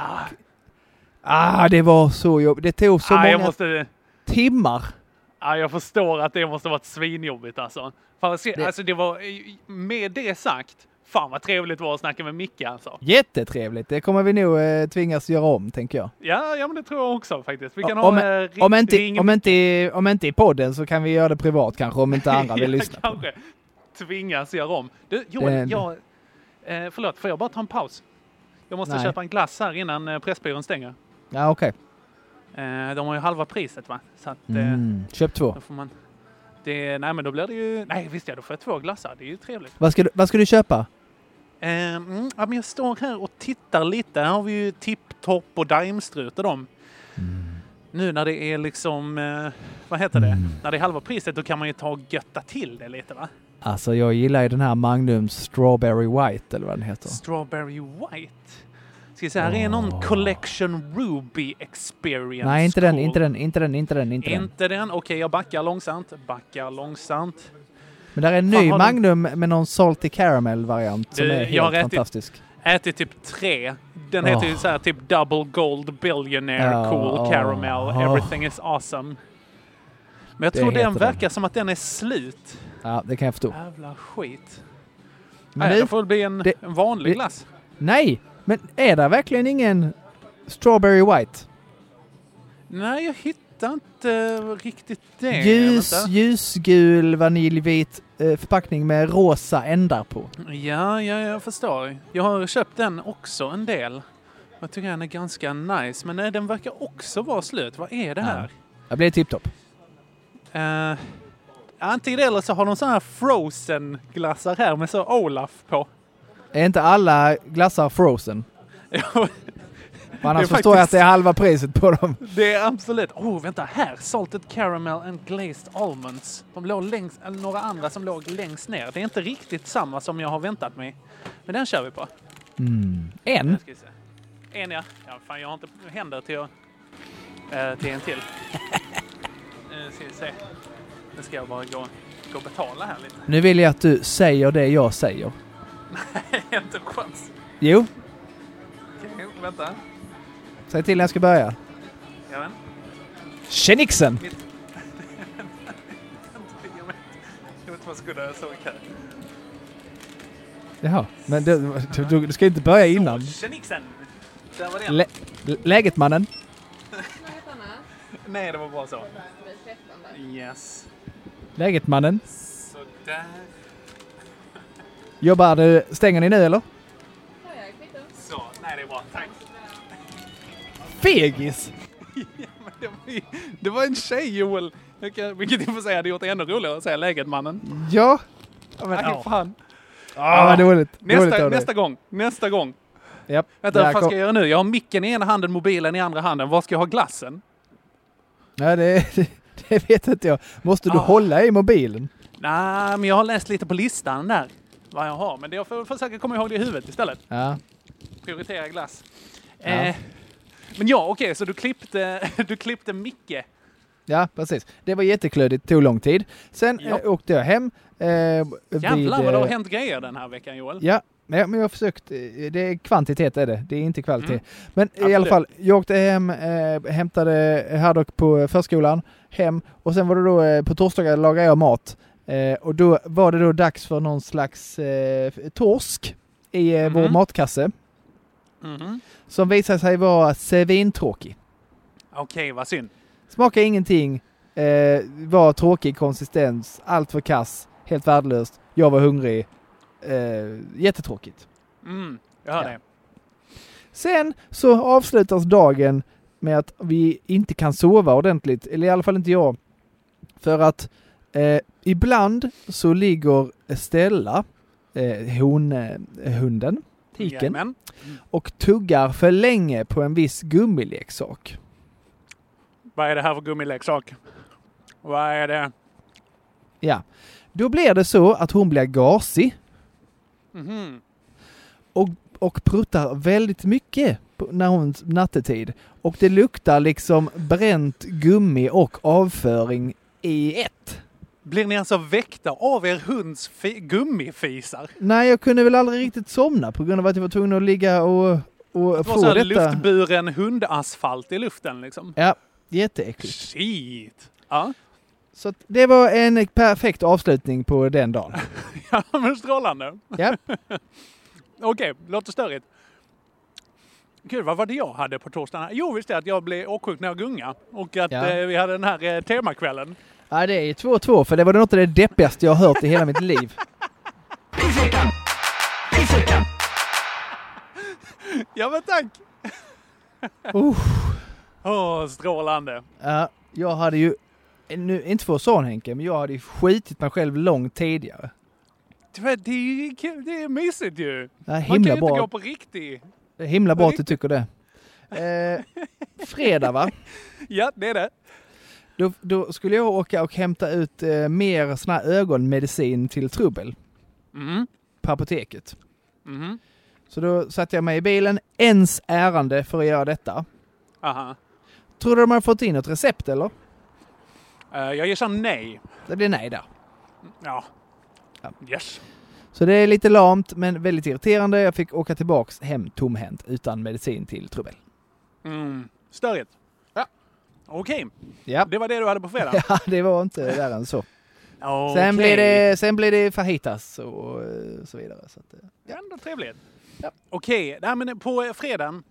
Speaker 7: Ah, det var så jobbigt. Det tog så
Speaker 6: Ah,
Speaker 7: många
Speaker 6: jag, måste,
Speaker 7: timmar.
Speaker 6: ah, jag förstår att det måste varit svinjobbigt alltså. Fan, vad se-
Speaker 7: Det-
Speaker 6: alltså det var, med det sagt, fan vad trevligt det var att snacka med Micke alltså.
Speaker 7: Jättetrevligt. Det kommer vi nog eh, tvingas göra om, tänker jag.
Speaker 6: Ja, ja, men det tror jag också faktiskt. Vi kan
Speaker 7: om,
Speaker 6: ha eh, en
Speaker 7: om, inte,
Speaker 6: [laughs]
Speaker 7: om, inte, i- om inte i podden så kan vi göra det privat kanske, om inte andra vill
Speaker 6: Ja,
Speaker 7: lyssna.
Speaker 6: kanske. Tvingas göra om. Du, Joel,
Speaker 7: Det-
Speaker 6: jag, eh, förlåt, får jag bara ta en paus? Jag måste
Speaker 7: Nej.
Speaker 6: köpa en glass här innan eh, Pressbyrån stänger.
Speaker 7: Ja, okej.
Speaker 6: Eh, de har ju halva priset va? Så att, eh,
Speaker 7: Mm. Köp två.
Speaker 6: Då får man... Det, nej, men då blir det ju... Nej, visst ja, då får jag två glassar. Det är ju trevligt.
Speaker 7: Vad ska, du, vad ska du köpa?
Speaker 6: Eh, mm, ja, men jag står här och tittar lite. Här har vi ju Tipptopp och Daimstrut och dem.
Speaker 7: Mm.
Speaker 6: Nu när det är liksom... Eh, vad heter det? När det är halva priset, då kan man ju ta och götta till det lite va?
Speaker 7: Alltså, jag gillar ju den här Magnums Strawberry White, eller vad den heter.
Speaker 6: Strawberry White. Ska vi se, här är någon Collection Ruby Experience.
Speaker 7: Nej, inte den,
Speaker 6: Cool.
Speaker 7: inte den, inte den, inte den, inte den.
Speaker 6: Inte den. Okej, jag backar långsamt. Backar långsamt.
Speaker 7: Men där är en
Speaker 6: Fan,
Speaker 7: ny
Speaker 6: har du-
Speaker 7: Magnum med någon Salty Caramel-variant som
Speaker 6: Du,
Speaker 7: är
Speaker 6: jag har
Speaker 7: helt
Speaker 6: ätit-
Speaker 7: fantastisk.
Speaker 6: Ätit typ tre. Den
Speaker 7: Åh.
Speaker 6: heter ju så här typ Double Gold Billionaire
Speaker 7: Ja,
Speaker 6: Cool
Speaker 7: åh,
Speaker 6: Caramel
Speaker 7: åh.
Speaker 6: Everything is awesome. Men jag
Speaker 7: Det
Speaker 6: tror den
Speaker 7: heter den.
Speaker 6: verkar som att den är slut.
Speaker 7: Ja, det kan jag förstå.
Speaker 6: Jävla skit.
Speaker 7: Men
Speaker 6: Nej,
Speaker 7: det-
Speaker 6: det får väl bli en,
Speaker 7: det-
Speaker 6: en vanlig
Speaker 7: det-
Speaker 6: glass.
Speaker 7: Nej, men är det verkligen ingen Strawberry White?
Speaker 6: Nej, jag hittar inte riktigt det.
Speaker 7: Ljus,
Speaker 6: Vänta.
Speaker 7: ljusgul vaniljvit eh, förpackning med rosa ändar på.
Speaker 6: Ja, ja, jag förstår. Jag har köpt den också en del. Jag tycker den är ganska nice. Men nej, den verkar också vara slut. Vad är det här?
Speaker 7: Det blir tipptopp.
Speaker 6: Uh, antingen det eller så har de sådana här frozen glassar här med så Olaf på. [laughs]
Speaker 7: Är inte alla glassar frozen? För annars
Speaker 6: Det är
Speaker 7: förstår jag att
Speaker 6: faktiskt-
Speaker 7: det är halva priset på dem.
Speaker 6: Det är absolut. Oh, vänta här! Salted caramel and glazed almonds. De låg längst, eller några andra som låg längst ner. Det är inte riktigt samma som jag har väntat mig. Men den kör vi på.
Speaker 7: En?
Speaker 6: Nu ska vi se. En ja. ja fan, jag har inte händer till, att- eh, till en [laughs] till. Nu ska vi se. Nu ska jag bara gå, gå och betala här lite. [laughs]
Speaker 7: Nu vill jag att du säger det jag säger.
Speaker 6: Nej, inte en chans.
Speaker 7: Jo,
Speaker 6: Okej, vänta.
Speaker 7: säg till när jag ska börja.
Speaker 6: Jajamän.
Speaker 7: Tjenixen!
Speaker 6: Mitt- jag vet jag vet inte vad jag skulle ha sagt här.
Speaker 7: Jaha, men du, du, du, du ska inte börja innan.
Speaker 6: Tjenixen! Där var den.
Speaker 7: Lä, läget mannen?
Speaker 6: Nej, det var bara så. Yes.
Speaker 7: Läget mannen?
Speaker 6: Sådär.
Speaker 7: Jobbar du, stänger ni nu eller?
Speaker 6: Så, nej det är bra. [laughs] Tack.
Speaker 7: Fegis!
Speaker 6: Det var en tjej Joel. Jag kan- Vilket i och för sig hade gjort det ännu roligare att säga läget mannen.
Speaker 7: Ja.
Speaker 6: Ja, men, Aj, fan.
Speaker 7: Ah, vad dåligt. Dåligt
Speaker 6: Nästa,
Speaker 7: av dig.
Speaker 6: nästa gång. Nästa gång.
Speaker 7: Japp.
Speaker 6: Vänta,
Speaker 7: där
Speaker 6: vad fan
Speaker 7: kom-
Speaker 6: ska jag göra nu? Jag har micken i ena handen, mobilen i andra handen. Var ska jag ha glassen?
Speaker 7: Ja, det, det vet inte jag. Måste
Speaker 6: Ah.
Speaker 7: du hålla i mobilen?
Speaker 6: Nej, men jag har läst lite på listan där. Vad jag har. Men jag får försöka komma ihåg det i huvudet istället.
Speaker 7: Ja.
Speaker 6: Prioritera glass.
Speaker 7: Ja.
Speaker 6: Eh, men ja, okej, så du klippte, [laughs] du klippte Micke.
Speaker 7: Ja, precis. Det var jätteklödigt, tog lång tid. Sen
Speaker 6: Ja.
Speaker 7: eh, åkte jag hem. Eh,
Speaker 6: Jävlar vad det har
Speaker 7: eh,
Speaker 6: hänt grejer den här veckan Joel.
Speaker 7: Ja, men jag, men jag har försökt. eh, Det är kvantitet är det, det är inte kvalitet.
Speaker 6: Mm.
Speaker 7: Men i alla
Speaker 6: Absolut.
Speaker 7: fall, jag åkte hem, eh, hämtade Haddock på förskolan, hem och sen var det då eh, på torsdagar lagade jag mat. Eh, och då var det då dags för någon slags eh, torsk i eh,
Speaker 6: Mm-hmm.
Speaker 7: vår matkasse
Speaker 6: Mhm.
Speaker 7: som visade sig vara svintråkig.
Speaker 6: Okej, vad synd.
Speaker 7: Smakar ingenting, eh, var tråkig konsistens, allt för kass, helt värdelöst. Jag var hungrig. Eh, jättetråkigt.
Speaker 6: Mm, jag hör det.
Speaker 7: Sen så avslutas dagen med att vi inte kan sova ordentligt, eller i alla fall inte jag. För att eh, ibland så ligger Stella, eh, hon, eh, hunden, tiken,
Speaker 6: Jajamän.
Speaker 7: och tuggar för länge på en viss gummileksak.
Speaker 6: Vad är det här för gummileksak? Vad är det?
Speaker 7: Ja. Då blir det så att hon blir gasig
Speaker 6: Mhm.
Speaker 7: och, och pruttar väldigt mycket på, när hon nattetid. Och det luktar liksom bränt gummi och avföring i ett.
Speaker 6: Blir ni alltså väckta av er hunds fi- gummifisar?
Speaker 7: Nej, jag kunde väl aldrig riktigt somna på grund av att jag var tvungen att ligga och, och
Speaker 6: Det var så
Speaker 7: få
Speaker 6: här
Speaker 7: detta.
Speaker 6: luftburen hundasfalt i luften liksom.
Speaker 7: Ja, jätteäckligt.
Speaker 6: Shit! Ja, [laughs]
Speaker 7: Så att det var en perfekt avslutning på den
Speaker 6: [laughs]
Speaker 7: dagen.
Speaker 6: ja men strålande.
Speaker 7: Ja.
Speaker 6: Okej, låter störigt. Gud, vad var det jag hade på torsdagen? Jo, visst är att jag blev åksjuk när jag gungade. Och att
Speaker 7: Ja.
Speaker 6: eh, vi hade den här eh, temakvällen.
Speaker 7: ja, det är 2-2 för det var något av det deppigaste jag har hört i hela mitt liv.
Speaker 6: [laughs] Ja,
Speaker 7: [laughs]
Speaker 6: men tack!
Speaker 7: Uff.
Speaker 6: Åh, strålande.
Speaker 7: Ja, jag hade ju, nu, inte för att sån Henke, men jag hade ju skitit mig själv långt tidigare.
Speaker 6: Det var- det är, ju kul, det är mysigt ju.
Speaker 7: Ja, himla
Speaker 6: Man kan ju inte
Speaker 7: bra.
Speaker 6: gå på riktig.
Speaker 7: Det är himla bra att du tycker det. Eh, fredag va?
Speaker 6: Ja, det är det.
Speaker 7: Då, då skulle jag åka och hämta ut eh, mer sån här ögonmedicin till Trubbel
Speaker 6: Mm.
Speaker 7: på apoteket.
Speaker 6: Mhm.
Speaker 7: Så då satte jag mig i bilen, ens ärende för att göra detta.
Speaker 6: Aha.
Speaker 7: Tror du de har fått in ett recept eller?
Speaker 6: Eh, jag gissar nej.
Speaker 7: Det blir nej där.
Speaker 6: Ja. Yes.
Speaker 7: Så det är lite lamt men väldigt irriterande. Jag fick åka tillbaks hem tomhänt utan medicin till Trubbel.
Speaker 6: Mm. Störigt. Ja. Okej.
Speaker 7: Ja.
Speaker 6: Det var det du hade på fredag.
Speaker 7: [laughs] Ja, det var inte värre än så.
Speaker 6: Okej.
Speaker 7: Sen blir det, sen blir det fajitas och eh, så vidare. Så att, eh,
Speaker 6: Ja, ändå trevligt. Okej, nej, men på eh, fredagen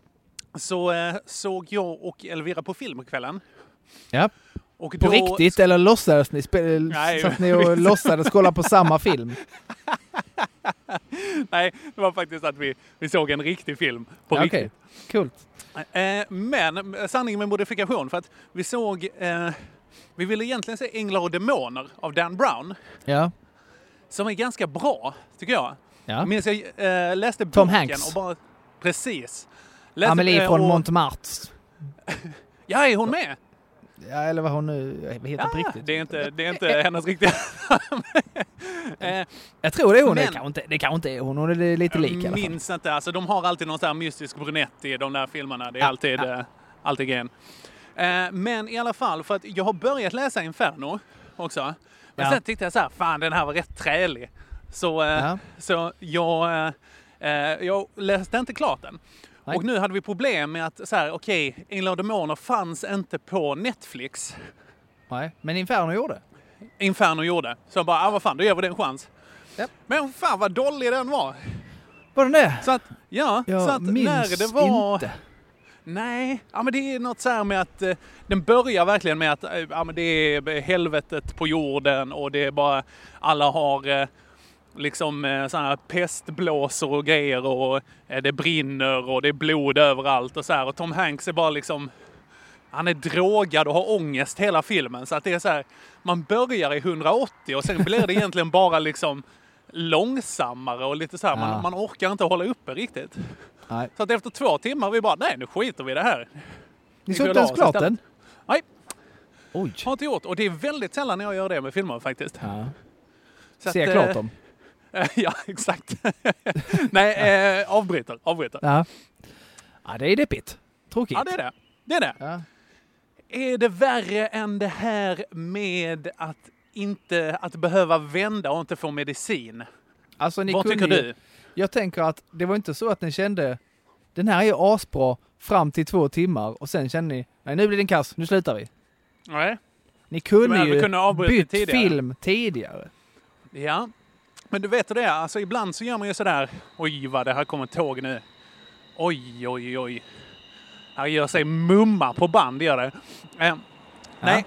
Speaker 6: så eh, såg jag och Elvira på filmkvällen.
Speaker 7: ja.
Speaker 6: Och
Speaker 7: På
Speaker 6: då-
Speaker 7: riktigt eller låtsades ni? Spe,
Speaker 6: Nej,
Speaker 7: satt ni och
Speaker 6: visst.
Speaker 7: låtsades kolla på
Speaker 6: [laughs]
Speaker 7: samma film?
Speaker 6: [laughs] Nej, det var faktiskt att vi, vi såg en riktig film på
Speaker 7: Ja,
Speaker 6: riktigt.
Speaker 7: Kul.
Speaker 6: Eh, men eh, sanning med modifikation för att vi såg... Eh, vi ville egentligen se Änglar och Demoner av Dan Brown
Speaker 7: Ja.
Speaker 6: som är ganska bra, tycker jag.
Speaker 7: Ja.
Speaker 6: Minns jag eh, läste boken
Speaker 7: Tom Hanks.
Speaker 6: och bara... Precis.
Speaker 7: Amelie
Speaker 6: eh,
Speaker 7: från
Speaker 6: och-
Speaker 7: Montmartre.
Speaker 6: Ja, är hon med?
Speaker 7: Ja, eller vad hon nu vad heter på
Speaker 6: Ja,
Speaker 7: riktigt.
Speaker 6: det är inte, det är inte hennes riktiga
Speaker 7: [laughs]
Speaker 6: Eh,
Speaker 7: Jag tror det är hon.
Speaker 6: Men-
Speaker 7: det, kanske inte, det kanske inte är hon. Hon är lite lik i alla fall.
Speaker 6: Minns inte. Alltså, de har alltid någon sån här mystisk brunett i de där filmerna. Det är alltid,
Speaker 7: ja.
Speaker 6: eh, alltid grejen. Eh, men i alla fall, för att jag har börjat läsa Inferno också. Men
Speaker 7: Ja.
Speaker 6: sen tyckte jag så här, fan den här var rätt trälig. Så, eh, så jag, eh, eh, jag läste inte klart den.
Speaker 7: Nej.
Speaker 6: Och nu hade vi problem med att så här, okej, Änglar och Demoner fanns inte på Netflix.
Speaker 7: Nej, men Inferno gjorde.
Speaker 6: Inferno gjorde. Så jag bara, ah, vad fan, då ger vi det en chans. Men fan vad dålig den var.
Speaker 7: Var den det?
Speaker 6: Så att, ja,
Speaker 7: Jag
Speaker 6: så att
Speaker 7: minns
Speaker 6: när det var...
Speaker 7: inte.
Speaker 6: Nej, ja, men det är något så här med att eh, den börjar verkligen med att eh, ja, men det är helvetet på jorden och det är bara alla har eh, liksom eh, såna här pestblåsor och grejer och eh, det brinner och det är blod överallt och så här. Och Tom Hanks är bara liksom han är drogad och har ångest hela filmen. Så att det är så här, man börjar i 180 och sen blir det egentligen bara liksom långsammare och lite så här,
Speaker 7: Ja.
Speaker 6: man, man orkar inte hålla uppe riktigt.
Speaker 7: Nej.
Speaker 6: Så att efter två timmar vi bara, nej nu skiter vi i det här.
Speaker 7: Ni
Speaker 6: Vi
Speaker 7: såg
Speaker 6: går
Speaker 7: inte ens
Speaker 6: av oss
Speaker 7: klart
Speaker 6: istället.
Speaker 7: den?
Speaker 6: Nej.
Speaker 7: Oj.
Speaker 6: Har inte gjort. Och det är väldigt sällan jag gör det med filmer faktiskt.
Speaker 7: Ser
Speaker 6: Så att,
Speaker 7: jag klart
Speaker 6: eh,
Speaker 7: dem?
Speaker 6: [laughs] ja, exakt. [laughs] nej, eh, avbryter. avbryter.
Speaker 7: Ja. ja, det är deppigt. Tråkigt.
Speaker 6: Ja, det är det. Det är det. Är det värre än det här med att inte att behöva vända och inte få medicin?
Speaker 7: Alltså, ni
Speaker 6: Vad
Speaker 7: kunde
Speaker 6: tycker
Speaker 7: ju-
Speaker 6: du?
Speaker 7: Jag tänker att det var inte så att ni kände den här är ju asbra fram till två timmar och sen kände ni nej nu blir den kass, nu slutar vi.
Speaker 6: Nej.
Speaker 7: Ni
Speaker 6: Du
Speaker 7: kunde
Speaker 6: menar, vi
Speaker 7: ju
Speaker 6: kunde ha avbrutit
Speaker 7: bytt
Speaker 6: tidigare?
Speaker 7: film tidigare.
Speaker 6: Ja. Men du vet hur det är, alltså ibland så gör man ju sådär, oj vad det här kommer ett tåg nu. Oj, oj, oj. Här gör sig mumma på band, gör det. Eh, nej,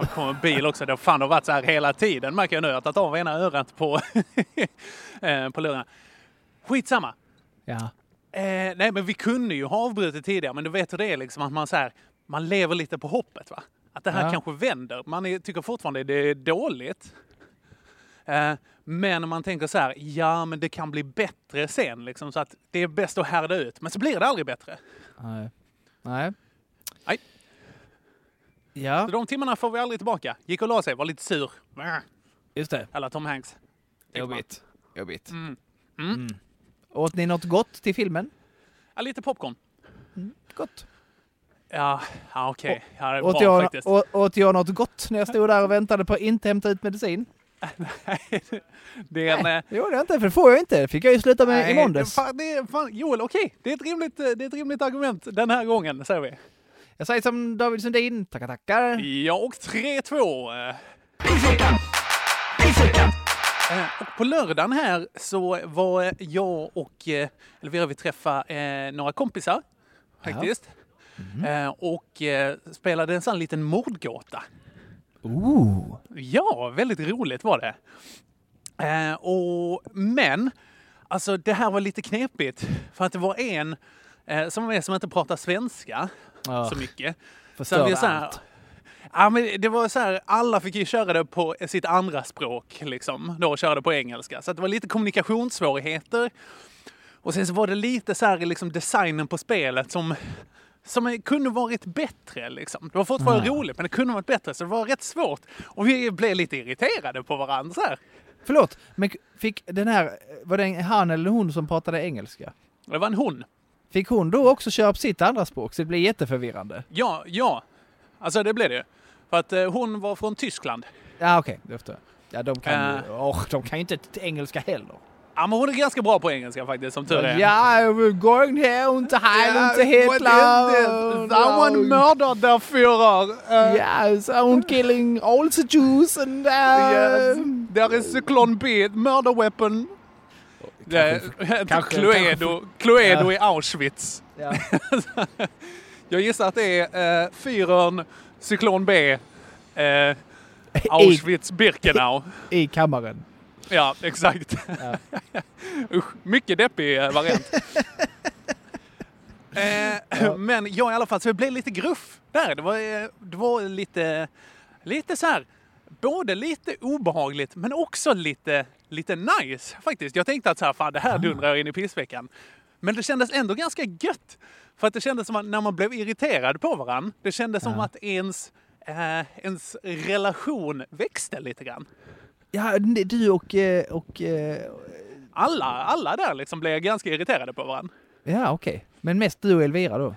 Speaker 6: det kommer en bil också. Det har fan det har varit så här hela tiden märker jag nu. Jag har tagit av ena örat på, [laughs] eh, på lurarna. Skitsamma.
Speaker 7: Ja.
Speaker 6: Eh, nej, men vi kunde ju ha avbrutit tidigare, men du vet hur det är liksom att man så här, man lever lite på hoppet va? Att det här
Speaker 12: Ja.
Speaker 6: kanske vänder. Man är, tycker fortfarande det är dåligt. Eh, men man tänker så här, ja men det kan bli bättre sen liksom. Så att det är bäst att härda ut. Men så blir det aldrig bättre.
Speaker 7: Nej. Nej.
Speaker 6: Nej.
Speaker 7: Ja.
Speaker 6: Så de timmarna får vi aldrig tillbaka. Gick och la sig, var lite sur.
Speaker 7: Just det.
Speaker 6: Eller Tom Hanks.
Speaker 7: Jobbigt. Jobbigt.
Speaker 6: Mm.
Speaker 7: Mm. Åt ni något gott till filmen?
Speaker 6: Ja, lite popcorn.
Speaker 7: gott.
Speaker 6: Ja, ja okej. Ja, det är
Speaker 7: Åt
Speaker 6: bra
Speaker 7: jag,
Speaker 6: faktiskt.
Speaker 7: å- åt jag något gott när jag stod där och väntade på att inte hämta ut medicin?
Speaker 6: [laughs] det är en, eh,
Speaker 7: Det gjorde jag inte, för det får jag inte. Det fick jag ju sluta med
Speaker 6: Nej,
Speaker 7: i måndags.
Speaker 6: det- Eh, Fan, det är, fan, Joel, okej. Det, är ett rimligt, eh, det är ett rimligt argument den här gången, säger vi.
Speaker 7: Jag säger som David Sundin, tackar tackar.
Speaker 6: Ja, och 3-2. eh. Eh, Och på lördagen här så var eh, jag och eh, Elvira, vi träffade eh, några kompisar faktiskt.
Speaker 7: Mm.
Speaker 6: Eh, och eh, spelade en sån liten mordgåta.
Speaker 7: Ooh.
Speaker 6: Ja, väldigt roligt var det. Eh, och, men, alltså det här var lite knepigt. För att det var en eh, som var med som inte pratar svenska
Speaker 7: Ja.
Speaker 6: så mycket.
Speaker 7: Förstörde
Speaker 6: vi så här-
Speaker 7: Ah. allt.
Speaker 6: Ja, men det var så här, alla fick ju köra det på sitt andra språk, liksom. Då köra det på engelska. Så att det var lite kommunikationssvårigheter. Och sen så var det lite så här, liksom designen på spelet som, som kunde varit bättre. Liksom. Det var fortfarande roligt, men det kunde varit bättre. Så det var rätt svårt. Och vi blev lite irriterade på varandra. Så här.
Speaker 7: Förlåt, men fick den här, var det en- han eller hon som pratade engelska?
Speaker 6: Det var en hon.
Speaker 7: Fick hon då också köra på sitt andra språk? Så det blir jätteförvirrande.
Speaker 6: Ja, ja. Alltså det blev det ju. För att eh, hon var från Tyskland.
Speaker 7: Ja, okej, det förstår jag. Ja, de kan ju,
Speaker 6: Äh.
Speaker 7: åh, de kan ju inte t- engelska heller.
Speaker 6: Ja, men hon är ganska bra på engelska faktiskt, som tur är.
Speaker 7: Ja, jag vill gå in här och inte här, inte
Speaker 6: Hitler! Someone murdered their Führer! Uh,
Speaker 7: Yes, and killing all the Jews and... Uh,
Speaker 6: yes. There is Cyclone B, murder weapon! Det är- [laughs]
Speaker 7: kanske-
Speaker 6: Cluedo,
Speaker 7: kanske-
Speaker 6: Cluedo
Speaker 7: Ja.
Speaker 6: i Auschwitz.
Speaker 7: Ja.
Speaker 6: [laughs] Jag gissar att det är uh, Fyrern, Cyklon B, eh, Auschwitz-Birkenau.
Speaker 7: I kammaren.
Speaker 6: Ja, exakt. [laughs] Usch, mycket deppig eh, variant. [laughs] eh, Men jag i alla fall, så det blev lite gruff där. Det var, eh, det var lite, lite så här, både lite obehagligt men också lite, lite nice faktiskt. Jag tänkte att så här, fan det här dundrar jag in i pissveckan. Men det kändes ändå ganska gött. För att det kändes som att när man blev irriterad på varandra, det kändes som att ens, eh, ens relation växte lite grann.
Speaker 7: Ja, n- du och... eh, och eh,
Speaker 6: Alla, alla där liksom blev ganska irriterade på varandra.
Speaker 7: ja, okej. Men mest du och Elvira då?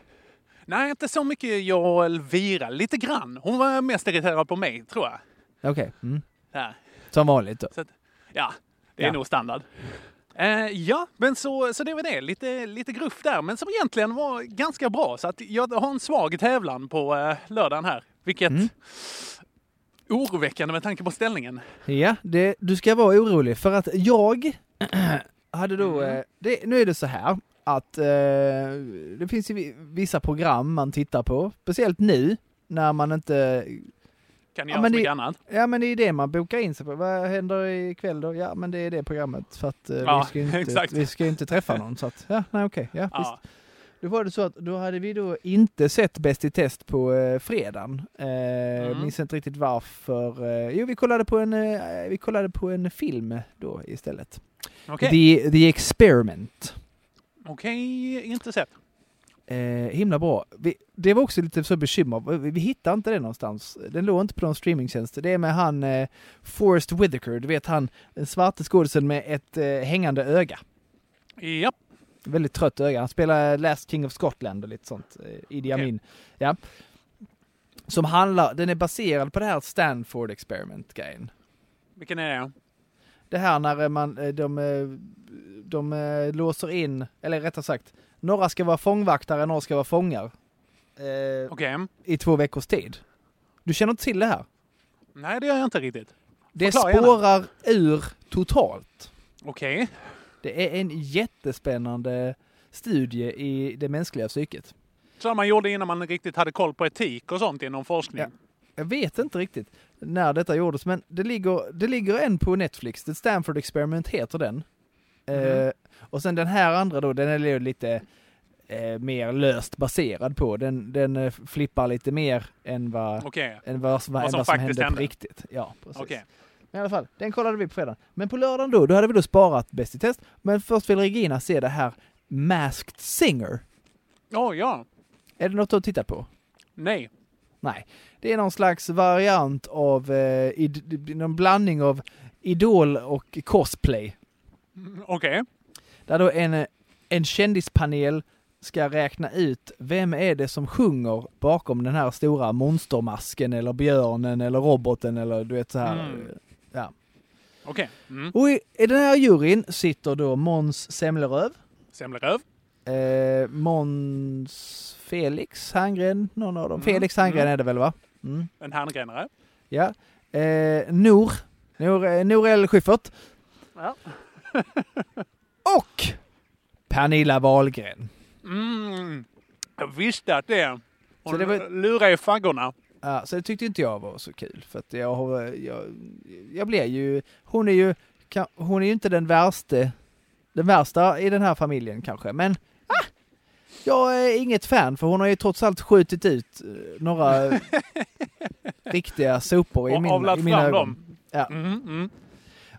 Speaker 6: Nej, inte så mycket jag och Elvira. Lite grann. Hon var mest irriterad på mig, tror jag.
Speaker 7: Okej. Mm.
Speaker 6: Ja,
Speaker 7: Som vanligt då.
Speaker 6: så att, ja det är
Speaker 7: Ja.
Speaker 6: nog standard. Eh, ja, men så, så det var det. Lite, lite gruff där, men som egentligen var ganska bra. Så att jag har en svag tävlan på eh, lördagen här. Vilket
Speaker 7: Mm.
Speaker 6: oroväckande med tanke på ställningen.
Speaker 7: Ja, det, du ska vara orolig för att jag [clears throat] hade då... eh, Det, nu är det så här att eh, det finns ju vi- vissa program man tittar på, speciellt nu när man inte...
Speaker 6: Kan ni
Speaker 7: Ja,
Speaker 6: göra
Speaker 7: men
Speaker 6: så
Speaker 7: det-
Speaker 6: mycket annat?
Speaker 7: Ja men det är det man bokar in sig på. Vad händer ikväll då? Ja men det är det programmet för att eh,
Speaker 6: Ja,
Speaker 7: vi, ska ju inte,
Speaker 6: exakt.
Speaker 7: vi ska ju inte träffa någon så att, ja nej okej, ja,
Speaker 6: Ja.
Speaker 7: visst. Då var det så att då hade vi då inte sett Bäst i test på eh, fredagen. Eh,
Speaker 6: Mm.
Speaker 7: Minns inte riktigt varför. Eh, jo vi kollade på en, eh, vi kollade på en film då istället.
Speaker 6: Okej.
Speaker 7: The, The Experiment.
Speaker 6: Okej, inte sett.
Speaker 7: Eh, himla bra. Vi, det var också lite så bekymmer. Vi, vi hittade inte det någonstans. Den låg inte på någon streamingtjänst. Det är med han eh, Forrest Whitaker. Du vet han, den svarte skådisen med ett eh, hängande öga.
Speaker 6: Japp.
Speaker 7: Väldigt trött öga. Han spelar Last King of Scotland och lite sånt. Eh, Idi Amin. Ja. Som handlar, den är baserad på det här Stanford Experiment-grejen.
Speaker 6: Vilken är det?
Speaker 7: Det här när eh, man, eh, de, eh, de eh, låser in, eller rättare sagt, några ska vara fångvaktare, några ska vara fångar. Eh,
Speaker 6: Okej.
Speaker 7: i två veckors tid. Du känner inte till det här?
Speaker 6: Nej, det gör jag inte riktigt.
Speaker 7: Det
Speaker 6: Förklara gärna.
Speaker 7: spårar ur totalt.
Speaker 6: Okej.
Speaker 7: Det är en jättespännande studie i det mänskliga psyket.
Speaker 6: Så man gjorde innan man riktigt hade koll på etik och sånt inom forskning.
Speaker 7: Jag vet inte riktigt när detta gjordes, men det ligger, det ligger en på Netflix. The Stanford
Speaker 6: Mhm.
Speaker 7: Experiment heter den. Eh, och sen den här andra då, den är ju lite eh, mer löst baserad på. Den, den eh, flippar lite mer än vad,
Speaker 6: Okej.
Speaker 7: än vad, som,
Speaker 6: Vad
Speaker 7: än
Speaker 6: som
Speaker 7: vad som
Speaker 6: faktiskt
Speaker 7: hände på
Speaker 6: hände.
Speaker 7: riktigt. Ja, precis.
Speaker 6: Okej.
Speaker 7: Men i alla fall, den kollade vi på fredagen. Men på lördagen då, då hade vi då sparat Bäst i test. Men först vill Regina se det här Masked Singer.
Speaker 6: Åh ja.
Speaker 7: Är det något du har tittat på?
Speaker 6: Nej.
Speaker 7: Nej, det är någon slags variant av, eh, id- någon blandning av Idol och cosplay.
Speaker 6: Okej.
Speaker 7: Där då en, eh, en kändispanel ska räkna ut vem är det som sjunger bakom den här stora monstermasken eller björnen eller roboten eller du vet så här.
Speaker 6: Mm.
Speaker 7: Ja.
Speaker 6: Okej. Mm.
Speaker 7: Och i, i den här juryn sitter då Måns Semleröv,
Speaker 6: Semleröv.
Speaker 7: eh, Måns Felix Herngren, någon av dem. Felix Herngren
Speaker 6: Mm.
Speaker 7: är det väl va? Mm.
Speaker 6: En handgrenare.
Speaker 7: Ja. Eh, Nor. Nor, eh, Norell Schyffert.
Speaker 6: Ja.
Speaker 7: Och Pernilla Wahlgren.
Speaker 6: Mm. Jag visste att det.
Speaker 7: Så
Speaker 6: Hon
Speaker 7: det
Speaker 6: det
Speaker 7: var-
Speaker 6: lurar i faggorna.
Speaker 7: Ja, så det tyckte inte jag var så kul. För att jag, har- jag, jag blev ju... Hon är ju, ka- hon är ju inte den värsta, den värsta i den här familjen kanske, men ah, jag är inget fan för hon har ju trots allt skjutit ut eh, några
Speaker 6: [laughs]
Speaker 7: eh, riktiga sopor i,
Speaker 6: Och
Speaker 7: min,
Speaker 6: avlat
Speaker 7: i mina
Speaker 6: fram
Speaker 7: ögon.
Speaker 6: dem.
Speaker 7: Ja.
Speaker 6: mm.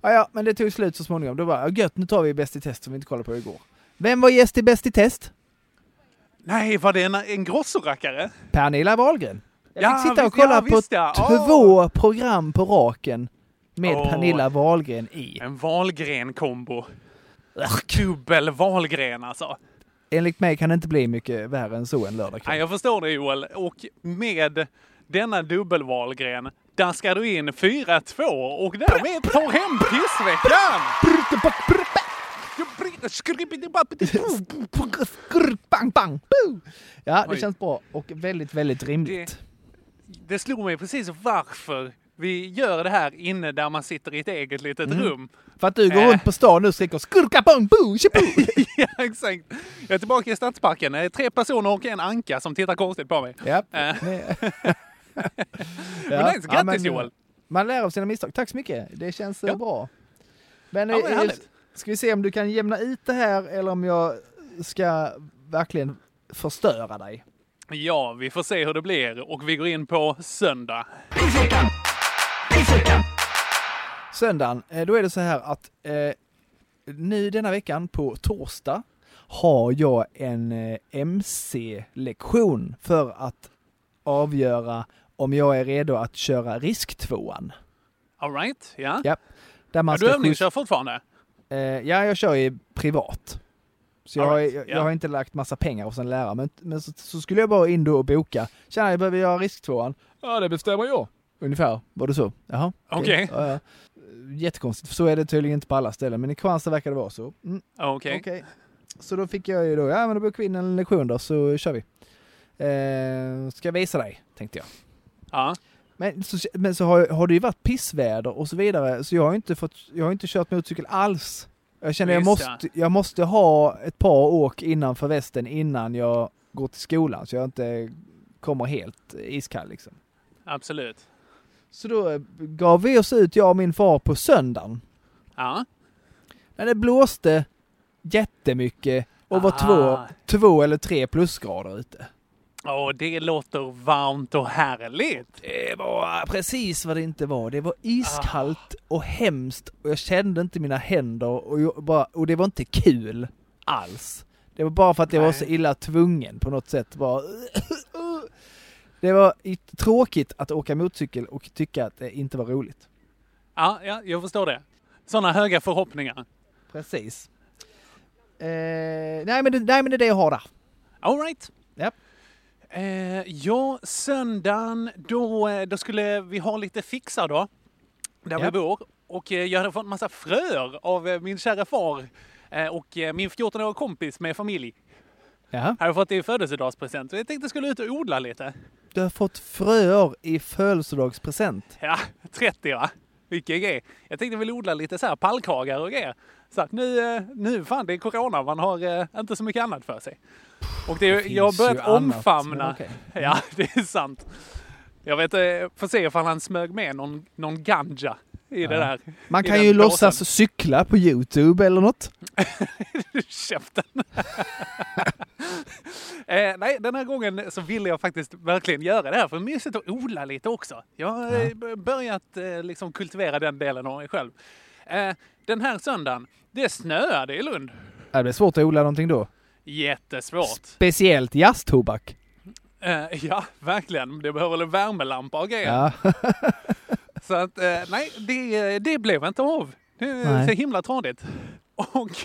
Speaker 7: Ja, ja, men det tog slut så småningom. Då bara, ja, gött, nu tar vi Bäst i test som vi inte kollade på igår. Vem var gäst i Bäst i test?
Speaker 6: Nej, var det en, en grossorackare?
Speaker 7: Pernilla Wahlgren. Jag
Speaker 6: Ja,
Speaker 7: fick sitta och
Speaker 6: visst, ja,
Speaker 7: kolla på
Speaker 6: visst, ja. Åh.
Speaker 7: två program på raken med
Speaker 6: Åh.
Speaker 7: Pernilla Wahlgren i.
Speaker 6: En Wahlgren-kombo. Dubbel Wahlgren alltså.
Speaker 7: Enligt mig kan det inte bli mycket värre än så en lördagkväll.
Speaker 6: Nej, jag förstår det Joel. Och med denna dubbel Wahlgren, där ska du in 4-2 och därmed tar hem pissveckan!
Speaker 7: Skrrt, bang, bang, boo! Ja, det
Speaker 6: Oj.
Speaker 7: känns bra och väldigt, väldigt rimligt.
Speaker 6: Det slog mig precis varför vi gör det här inne där man sitter i ett eget litet
Speaker 7: Mm.
Speaker 6: rum. [laughs]
Speaker 7: För att du går
Speaker 6: Eh.
Speaker 7: runt på stan nu och skriker skurka, bang, boo,
Speaker 6: [laughs]
Speaker 7: tjibo!
Speaker 6: ja, exakt. Jag är tillbaka i Stadsparken. Det är tre personer och en anka som tittar konstigt på mig.
Speaker 7: Japp.
Speaker 6: Eh.
Speaker 7: Ja,
Speaker 6: men nice, grattis
Speaker 7: ja, men,
Speaker 6: Joel!
Speaker 7: Man lär av sina misstag. Tack så mycket. Det känns eh, bra. Men,
Speaker 6: Ja, men
Speaker 7: eh,
Speaker 6: härligt.
Speaker 7: ska vi se om du kan jämna ut det här eller om jag ska verkligen förstöra dig.
Speaker 6: Ja, vi får se hur det blir och vi går in på söndag.
Speaker 7: Söndagen, eh, då är det så här att eh, nu denna veckan på torsdag har jag en eh, MC-lektion för att avgöra om jag är redo att köra risktvåan.
Speaker 6: All right, ja.
Speaker 7: Ja. Där man
Speaker 6: Ja,
Speaker 7: ska
Speaker 6: du
Speaker 7: skjutsa-
Speaker 6: övningskör fortfarande?
Speaker 7: Eh, ja, jag kör ju privat. Så jag,
Speaker 6: All
Speaker 7: har-
Speaker 6: right,
Speaker 7: jag, jag
Speaker 6: ja.
Speaker 7: har inte lagt massa pengar hos en lärare, men, men så, så skulle jag bara in då och boka. Tjena, jag behöver göra risktvåan. Ja, det bestämmer jag. Ungefär, var det så? Jaha.
Speaker 6: Okej.
Speaker 7: Ja, ja. Jättekonstigt, för så är det tydligen inte på alla ställen, men i Kristianstad verkar det vara så. Mm.
Speaker 6: Okej.
Speaker 7: Okej. Så då fick jag ju då, ja men då bokar vi in en lektion då, så kör vi. Eh, ska jag visa dig, tänkte jag.
Speaker 6: Ja.
Speaker 7: Men så, men så har, har det ju varit pissväder och så vidare, så jag har ju inte, fått, jag har inte kört motorcykel alls. Jag känner jag
Speaker 6: Just
Speaker 7: måste, jag måste ha ett par åk innanför västen innan jag går till skolan, så jag inte kommer helt iskall liksom.
Speaker 6: Absolut.
Speaker 7: Så då eh, gav vi oss ut, jag och min far, på söndagen.
Speaker 6: Ja.
Speaker 7: När det blåste jättemycket och var
Speaker 6: Ah.
Speaker 7: två, två eller tre plusgrader ute.
Speaker 6: Åh, det låter varmt och härligt.
Speaker 7: Det var precis vad det inte var. Det var iskallt
Speaker 6: Ah.
Speaker 7: och hemskt och jag kände inte mina händer och, jag bara, och det var inte kul alls. Det var bara för att jag var så illa tvungen på något sätt. Bara, det var i- tråkigt att åka motorcykel och tycka att det inte var roligt.
Speaker 6: Ja, ja, jag förstår det. Sådana höga förhoppningar.
Speaker 7: Precis. Eh, nej, men det, nej men det är det jag har där.
Speaker 6: All right.
Speaker 7: Yep.
Speaker 6: Eh, ja, söndagen då, eh, då skulle vi ha lite fixar då. Där
Speaker 7: Japp.
Speaker 6: vi bor. Och eh, jag hade fått massa fröer av eh, min kära far eh, och eh, min 14-åriga kompis med familj.
Speaker 7: Jaha.
Speaker 6: Hade fått det i födelsedagspresent. Så jag tänkte jag skulle ut och odla lite.
Speaker 7: Du har fått fröer i födelsedagspresent.
Speaker 6: [laughs] Ja, 30 va? Vilken grej. Jag tänkte väl odla lite så här pallkragar och grejer. Så att nu, eh, nu fan det är corona, man har eh, inte så mycket annat för sig. Och det,
Speaker 7: Det finns
Speaker 6: jag har
Speaker 7: ju
Speaker 6: börjat
Speaker 7: annat, men
Speaker 6: omfamna.
Speaker 7: okej.
Speaker 6: [laughs] Ja, det är sant. Jag vet, eh, får se ifall han smög med någon, någon ganja i det
Speaker 7: Ja.
Speaker 6: där.
Speaker 7: Man
Speaker 6: i
Speaker 7: kan
Speaker 6: den
Speaker 7: ju
Speaker 6: påsen.
Speaker 7: låtsas cykla på Youtube eller något.
Speaker 6: Käften. [laughs] Eh, nej, den här gången så ville jag faktiskt verkligen göra det här för det är mysigt att odla lite också. Jag har eh, b- börjat eh, liksom kultivera den delen av mig själv. Eh, den här söndagen, det snöade i Lund.
Speaker 7: Det blir svårt att odla någonting då.
Speaker 6: Jättesvårt.
Speaker 7: Speciellt jazztobak.
Speaker 6: Eh, ja, verkligen. Det behöver väl en värmelampa och grejer.
Speaker 7: Ja.
Speaker 6: Så att, eh, nej, det, det blev inte av. Det är
Speaker 7: Nej.
Speaker 6: så himla tradigt. Och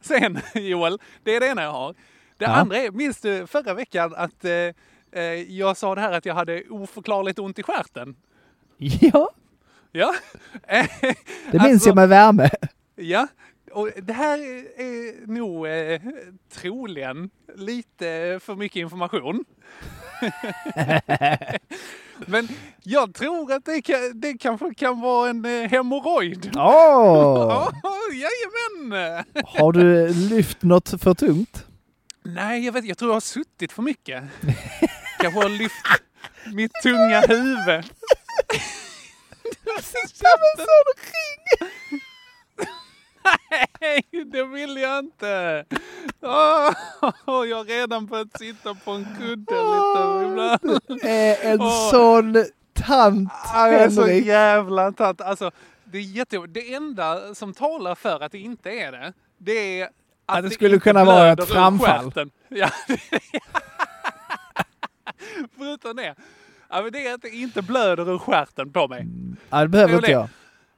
Speaker 6: sen, [laughs] Joel, det är det ena jag har. Det
Speaker 7: Ja.
Speaker 6: andra är, minns du förra veckan att eh, eh, jag sa det här att jag hade oförklarligt ont i stjärten?
Speaker 7: Ja, [laughs]
Speaker 6: Ja. [laughs] Eh, alltså,
Speaker 7: det minns jag med värme.
Speaker 6: Ja, och det här är nog eh, troligen lite för
Speaker 7: [laughs]
Speaker 6: mycket information. [laughs] Men jag tror att det, kan, det kanske kan vara en eh, hemorrojd.
Speaker 7: Åh!
Speaker 6: Åh, jajamän!
Speaker 7: Har du lyft något för tungt?
Speaker 6: Nej, jag, vet, jag tror jag har suttit för mycket. Kanske har lyft mitt tunga huvud.
Speaker 7: Sitta med sån ring!
Speaker 6: Nej, det vill jag inte! Åh, jag har redan börjat sitta på en kudde lite ibland.
Speaker 7: Eh, en
Speaker 6: Åh.
Speaker 7: sån tant,
Speaker 6: Ja, Jag är så
Speaker 7: Henrik.
Speaker 6: jävla tatt. Alltså, det, är jätte... det enda som talar för att det inte är det, det är att,
Speaker 7: Att det skulle
Speaker 6: inte
Speaker 7: kunna vara
Speaker 6: blöder
Speaker 7: ett
Speaker 6: ur
Speaker 7: framfall.
Speaker 6: stjärten. [laughs] Ja. [laughs] Förutom det. Ja, men det är att det inte blöder ur stjärten på mig.
Speaker 7: Ja, det behöver
Speaker 6: Det är
Speaker 7: inte jag.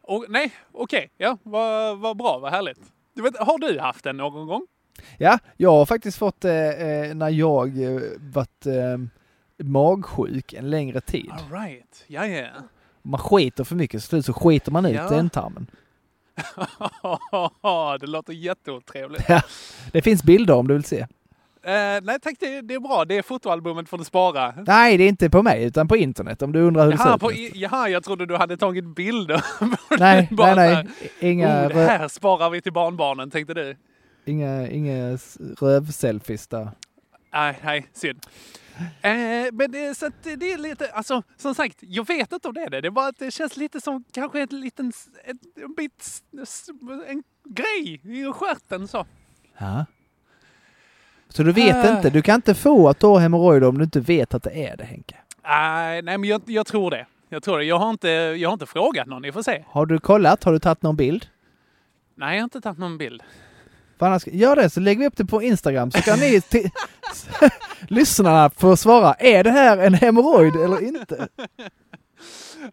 Speaker 6: Och, nej, okej. Ja, vad vad bra, vad härligt. Du vet, har du haft den någon gång?
Speaker 7: Ja, jag har faktiskt fått eh, eh, när jag eh, varit eh, magsjuk en längre tid.
Speaker 6: All right. Ja, ja. [laughs]
Speaker 7: Man skiter för mycket, så till slut så skiter man ut
Speaker 6: Ja.
Speaker 7: ändtarmen.
Speaker 6: det låter jätteotrevligt.
Speaker 7: Ja, det finns bilder om du vill se.
Speaker 6: Eh, nej tack, det, det är bra. Det är fotoalbumet får du spara.
Speaker 7: Nej, det är inte på mig, utan på internet om du undrar hur det ser
Speaker 6: Jaha,
Speaker 7: ut.
Speaker 6: på, i- jaha, jag trodde du hade tagit bilder. [laughs]
Speaker 7: Nej, nej,
Speaker 6: Bara så
Speaker 7: nej.
Speaker 6: här,
Speaker 7: Inga,
Speaker 6: Oh, det här sparar vi till barnbarnen, tänkte du.
Speaker 7: inga, inga s- rövselfies där.
Speaker 6: Nej, nej, synd. Eh, men det, så att det är lite, alltså som sagt, jag vet inte om det är det. Det är bara att det känns lite som kanske ett liten, s- ett, en bit, s- s- en grej i stjärten så.
Speaker 7: Ja. Så du vet
Speaker 6: Ah.
Speaker 7: inte, du kan inte få att du har hemorrojder om du inte vet att det är det Henke.
Speaker 6: Nej, nej, men jag, jag tror det. Jag tror det. Jag har inte, jag har inte frågat någon, ni får se.
Speaker 7: Har du kollat? Har du tagit någon bild?
Speaker 6: Nej, jag har inte tagit någon bild.
Speaker 7: För annars, gör det så lägger vi upp det på Instagram så kan
Speaker 6: [laughs]
Speaker 7: ni ti- [laughs] lyssnarna få svara. Är det här en hemorrojd eller inte?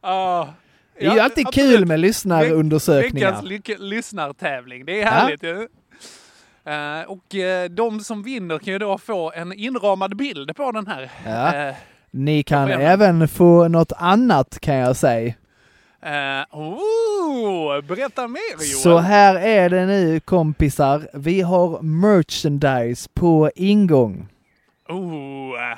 Speaker 6: Ah,
Speaker 7: Det är ju
Speaker 6: ja,
Speaker 7: alltid
Speaker 6: absolut.
Speaker 7: kul med
Speaker 6: Veckans
Speaker 7: lyssnarundersökningar.
Speaker 6: lyck- lyssnartävling. Det är härligt ju. Eh, och eh, de som vinner kan ju då få en inramad bild på den här.
Speaker 7: Ja.
Speaker 6: Eh,
Speaker 7: Ni kan
Speaker 6: jag
Speaker 7: även få något annat kan jag säga.
Speaker 6: eh, oh, berätta mer Joel!
Speaker 7: Så här är det nu kompisar. Vi har merchandise på ingång.
Speaker 6: Oh, eh,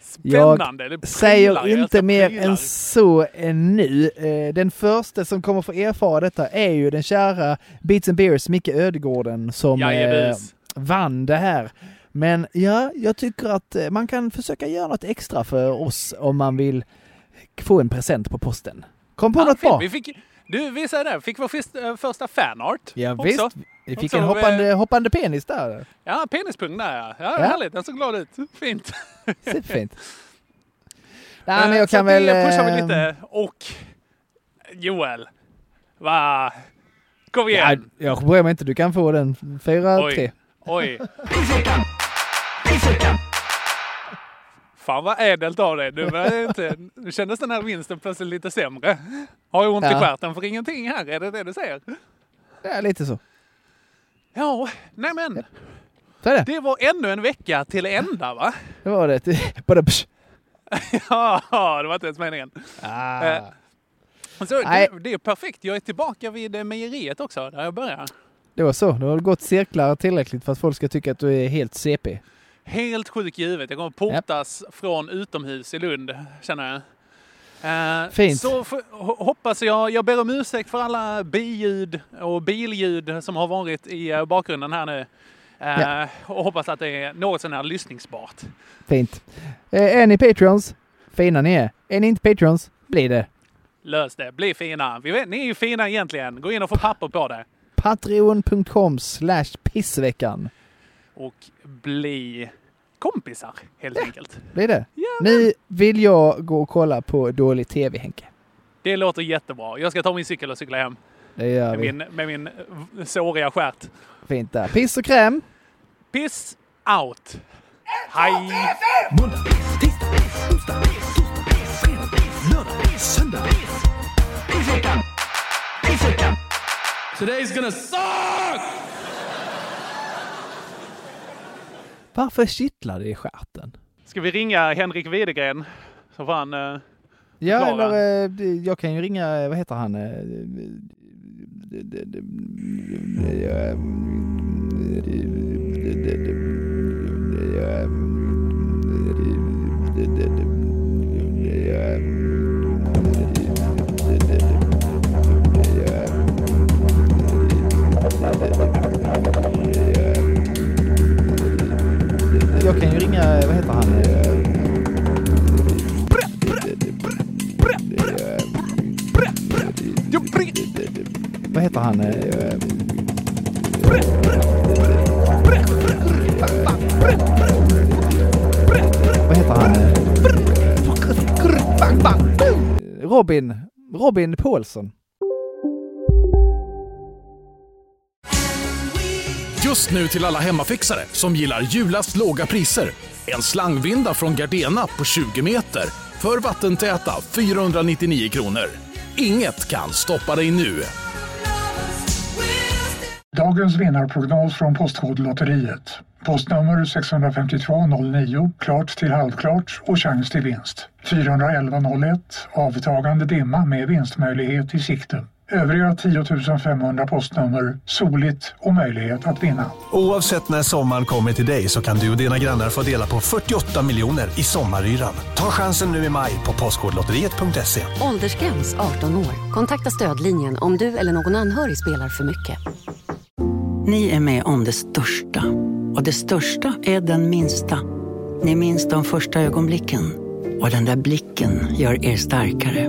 Speaker 6: spännande!
Speaker 7: Jag
Speaker 6: det
Speaker 7: säger
Speaker 6: prylar, jag
Speaker 7: inte
Speaker 6: älskar
Speaker 7: mer
Speaker 6: prylar.
Speaker 7: än så ännu. Eh, Den första som kommer få erfara detta är ju den kära Beats and Beers, Micke Ödegården, som eh,
Speaker 6: Jajebus.
Speaker 7: vann det här. Men ja, jag tycker att eh, man kan försöka göra något extra för oss om man vill få en present på posten. Kom på
Speaker 6: Ja,
Speaker 7: något
Speaker 6: fint.
Speaker 7: bra!
Speaker 6: Vi fick, du, vi säger det. Fick vår fist, eh, första fanart.
Speaker 7: Ja,
Speaker 6: också.
Speaker 7: visst, vi fick
Speaker 6: Också,
Speaker 7: en
Speaker 6: eh,
Speaker 7: hoppande, hoppande penis där.
Speaker 6: Ja, penispung där ja. ja.
Speaker 7: Ja.
Speaker 6: Härligt, den såg glad ut. Fint.
Speaker 7: Superfint. Nej, men
Speaker 6: Eh,
Speaker 7: jag
Speaker 6: så
Speaker 7: kan
Speaker 6: det
Speaker 7: väl...
Speaker 6: pushar vi
Speaker 7: eh,
Speaker 6: lite. Och Joel. Va? Kom
Speaker 7: Ja,
Speaker 6: igen.
Speaker 7: jag bryr mig inte, du kan få den. 4-3.
Speaker 6: Oj. Oj. Fan vad ädelt av dig. Nu, var det inte, nu kändes den här vinsten plötsligt lite sämre. Har ju ont i
Speaker 7: Ja.
Speaker 6: stjärten för ingenting här, är det det du säger?
Speaker 7: Ja, lite så.
Speaker 6: Ja, nej men.
Speaker 7: Så är det.
Speaker 6: Det var ännu en vecka till ända va?
Speaker 7: Det var det. [laughs] Bara psh.
Speaker 6: [laughs] Ja, det var inte ens meningen.
Speaker 7: Ah.
Speaker 6: Eh, Så
Speaker 7: Nej.
Speaker 6: det, det är perfekt. Jag är tillbaka vid eh, mejeriet också, där jag började.
Speaker 7: Det var så. Nu har du gått cirklar tillräckligt för att folk ska tycka att du är helt CP.
Speaker 6: Helt sjuk i huvudet. Jag kommer portas från utomhus i Lund, känner jag. Eh,
Speaker 7: Fint.
Speaker 6: Så f- ho- hoppas jag, jag ber om ursäkt för alla biljud och billjud som har varit i eh, bakgrunden här nu. Eh,
Speaker 7: Ja.
Speaker 6: Och hoppas att det är något sån här lyssningsbart.
Speaker 7: Fint. Eh, är ni Patreons? Fina ni är. Är ni inte Patreons? Bli det.
Speaker 6: Lös det, bli fina. Vi vet, ni är ju fina egentligen. Gå in och få papper på det.
Speaker 7: Patreon.com slash pissveckan.
Speaker 6: Och bli kompisar, helt enkelt.
Speaker 7: Det är det. Nu vill jag gå och kolla på dålig tv, Henke.
Speaker 6: Det låter jättebra. Jag ska ta min cykel och cykla hem.
Speaker 7: Det gör
Speaker 6: Med
Speaker 7: vi.
Speaker 6: min, med min v- såriga stjärt.
Speaker 7: Fint där. Piss och kräm.
Speaker 6: Piss out! Hej!
Speaker 13: Today's gonna suck!
Speaker 7: Varför kittlar det i stjärten?
Speaker 6: Ska vi ringa Henrik Widegren? Så får han... eh,
Speaker 7: Ja,
Speaker 6: förklara.
Speaker 7: eller eh, det- jag kan ju ringa, eh, vad heter han? eh, eh, eh, Jag kan ju ringa, eh, vad heter han? Eh, Vad heter han? Eh, Vad heter han? Eh, Robin. Robin Paulsson.
Speaker 14: Just nu till alla hemmafixare som gillar julast låga priser. En slangvinda från Gardena på 20 meter för vattentäta 499 kronor. Inget kan stoppa dig nu.
Speaker 15: Dagens vinnarprognos från Postkodlotteriet. Postnummer 65209, klart till halvklart och chans till vinst. 41101, avtagande dimma med vinstmöjlighet i sikte. Övriga 10 500 postnummer, soligt och möjlighet att vinna.
Speaker 16: Oavsett när sommaren kommer till dig så kan du och dina grannar få dela på 48 miljoner i sommaryran. Ta chansen nu i maj på Postkodlotteriet.se.
Speaker 17: Åldersgräns 18 år. Kontakta stödlinjen om du eller någon anhörig spelar för mycket.
Speaker 18: Ni är med om det största. Och det största är den minsta. Ni minns de första ögonblicken. Och den där blicken gör er starkare.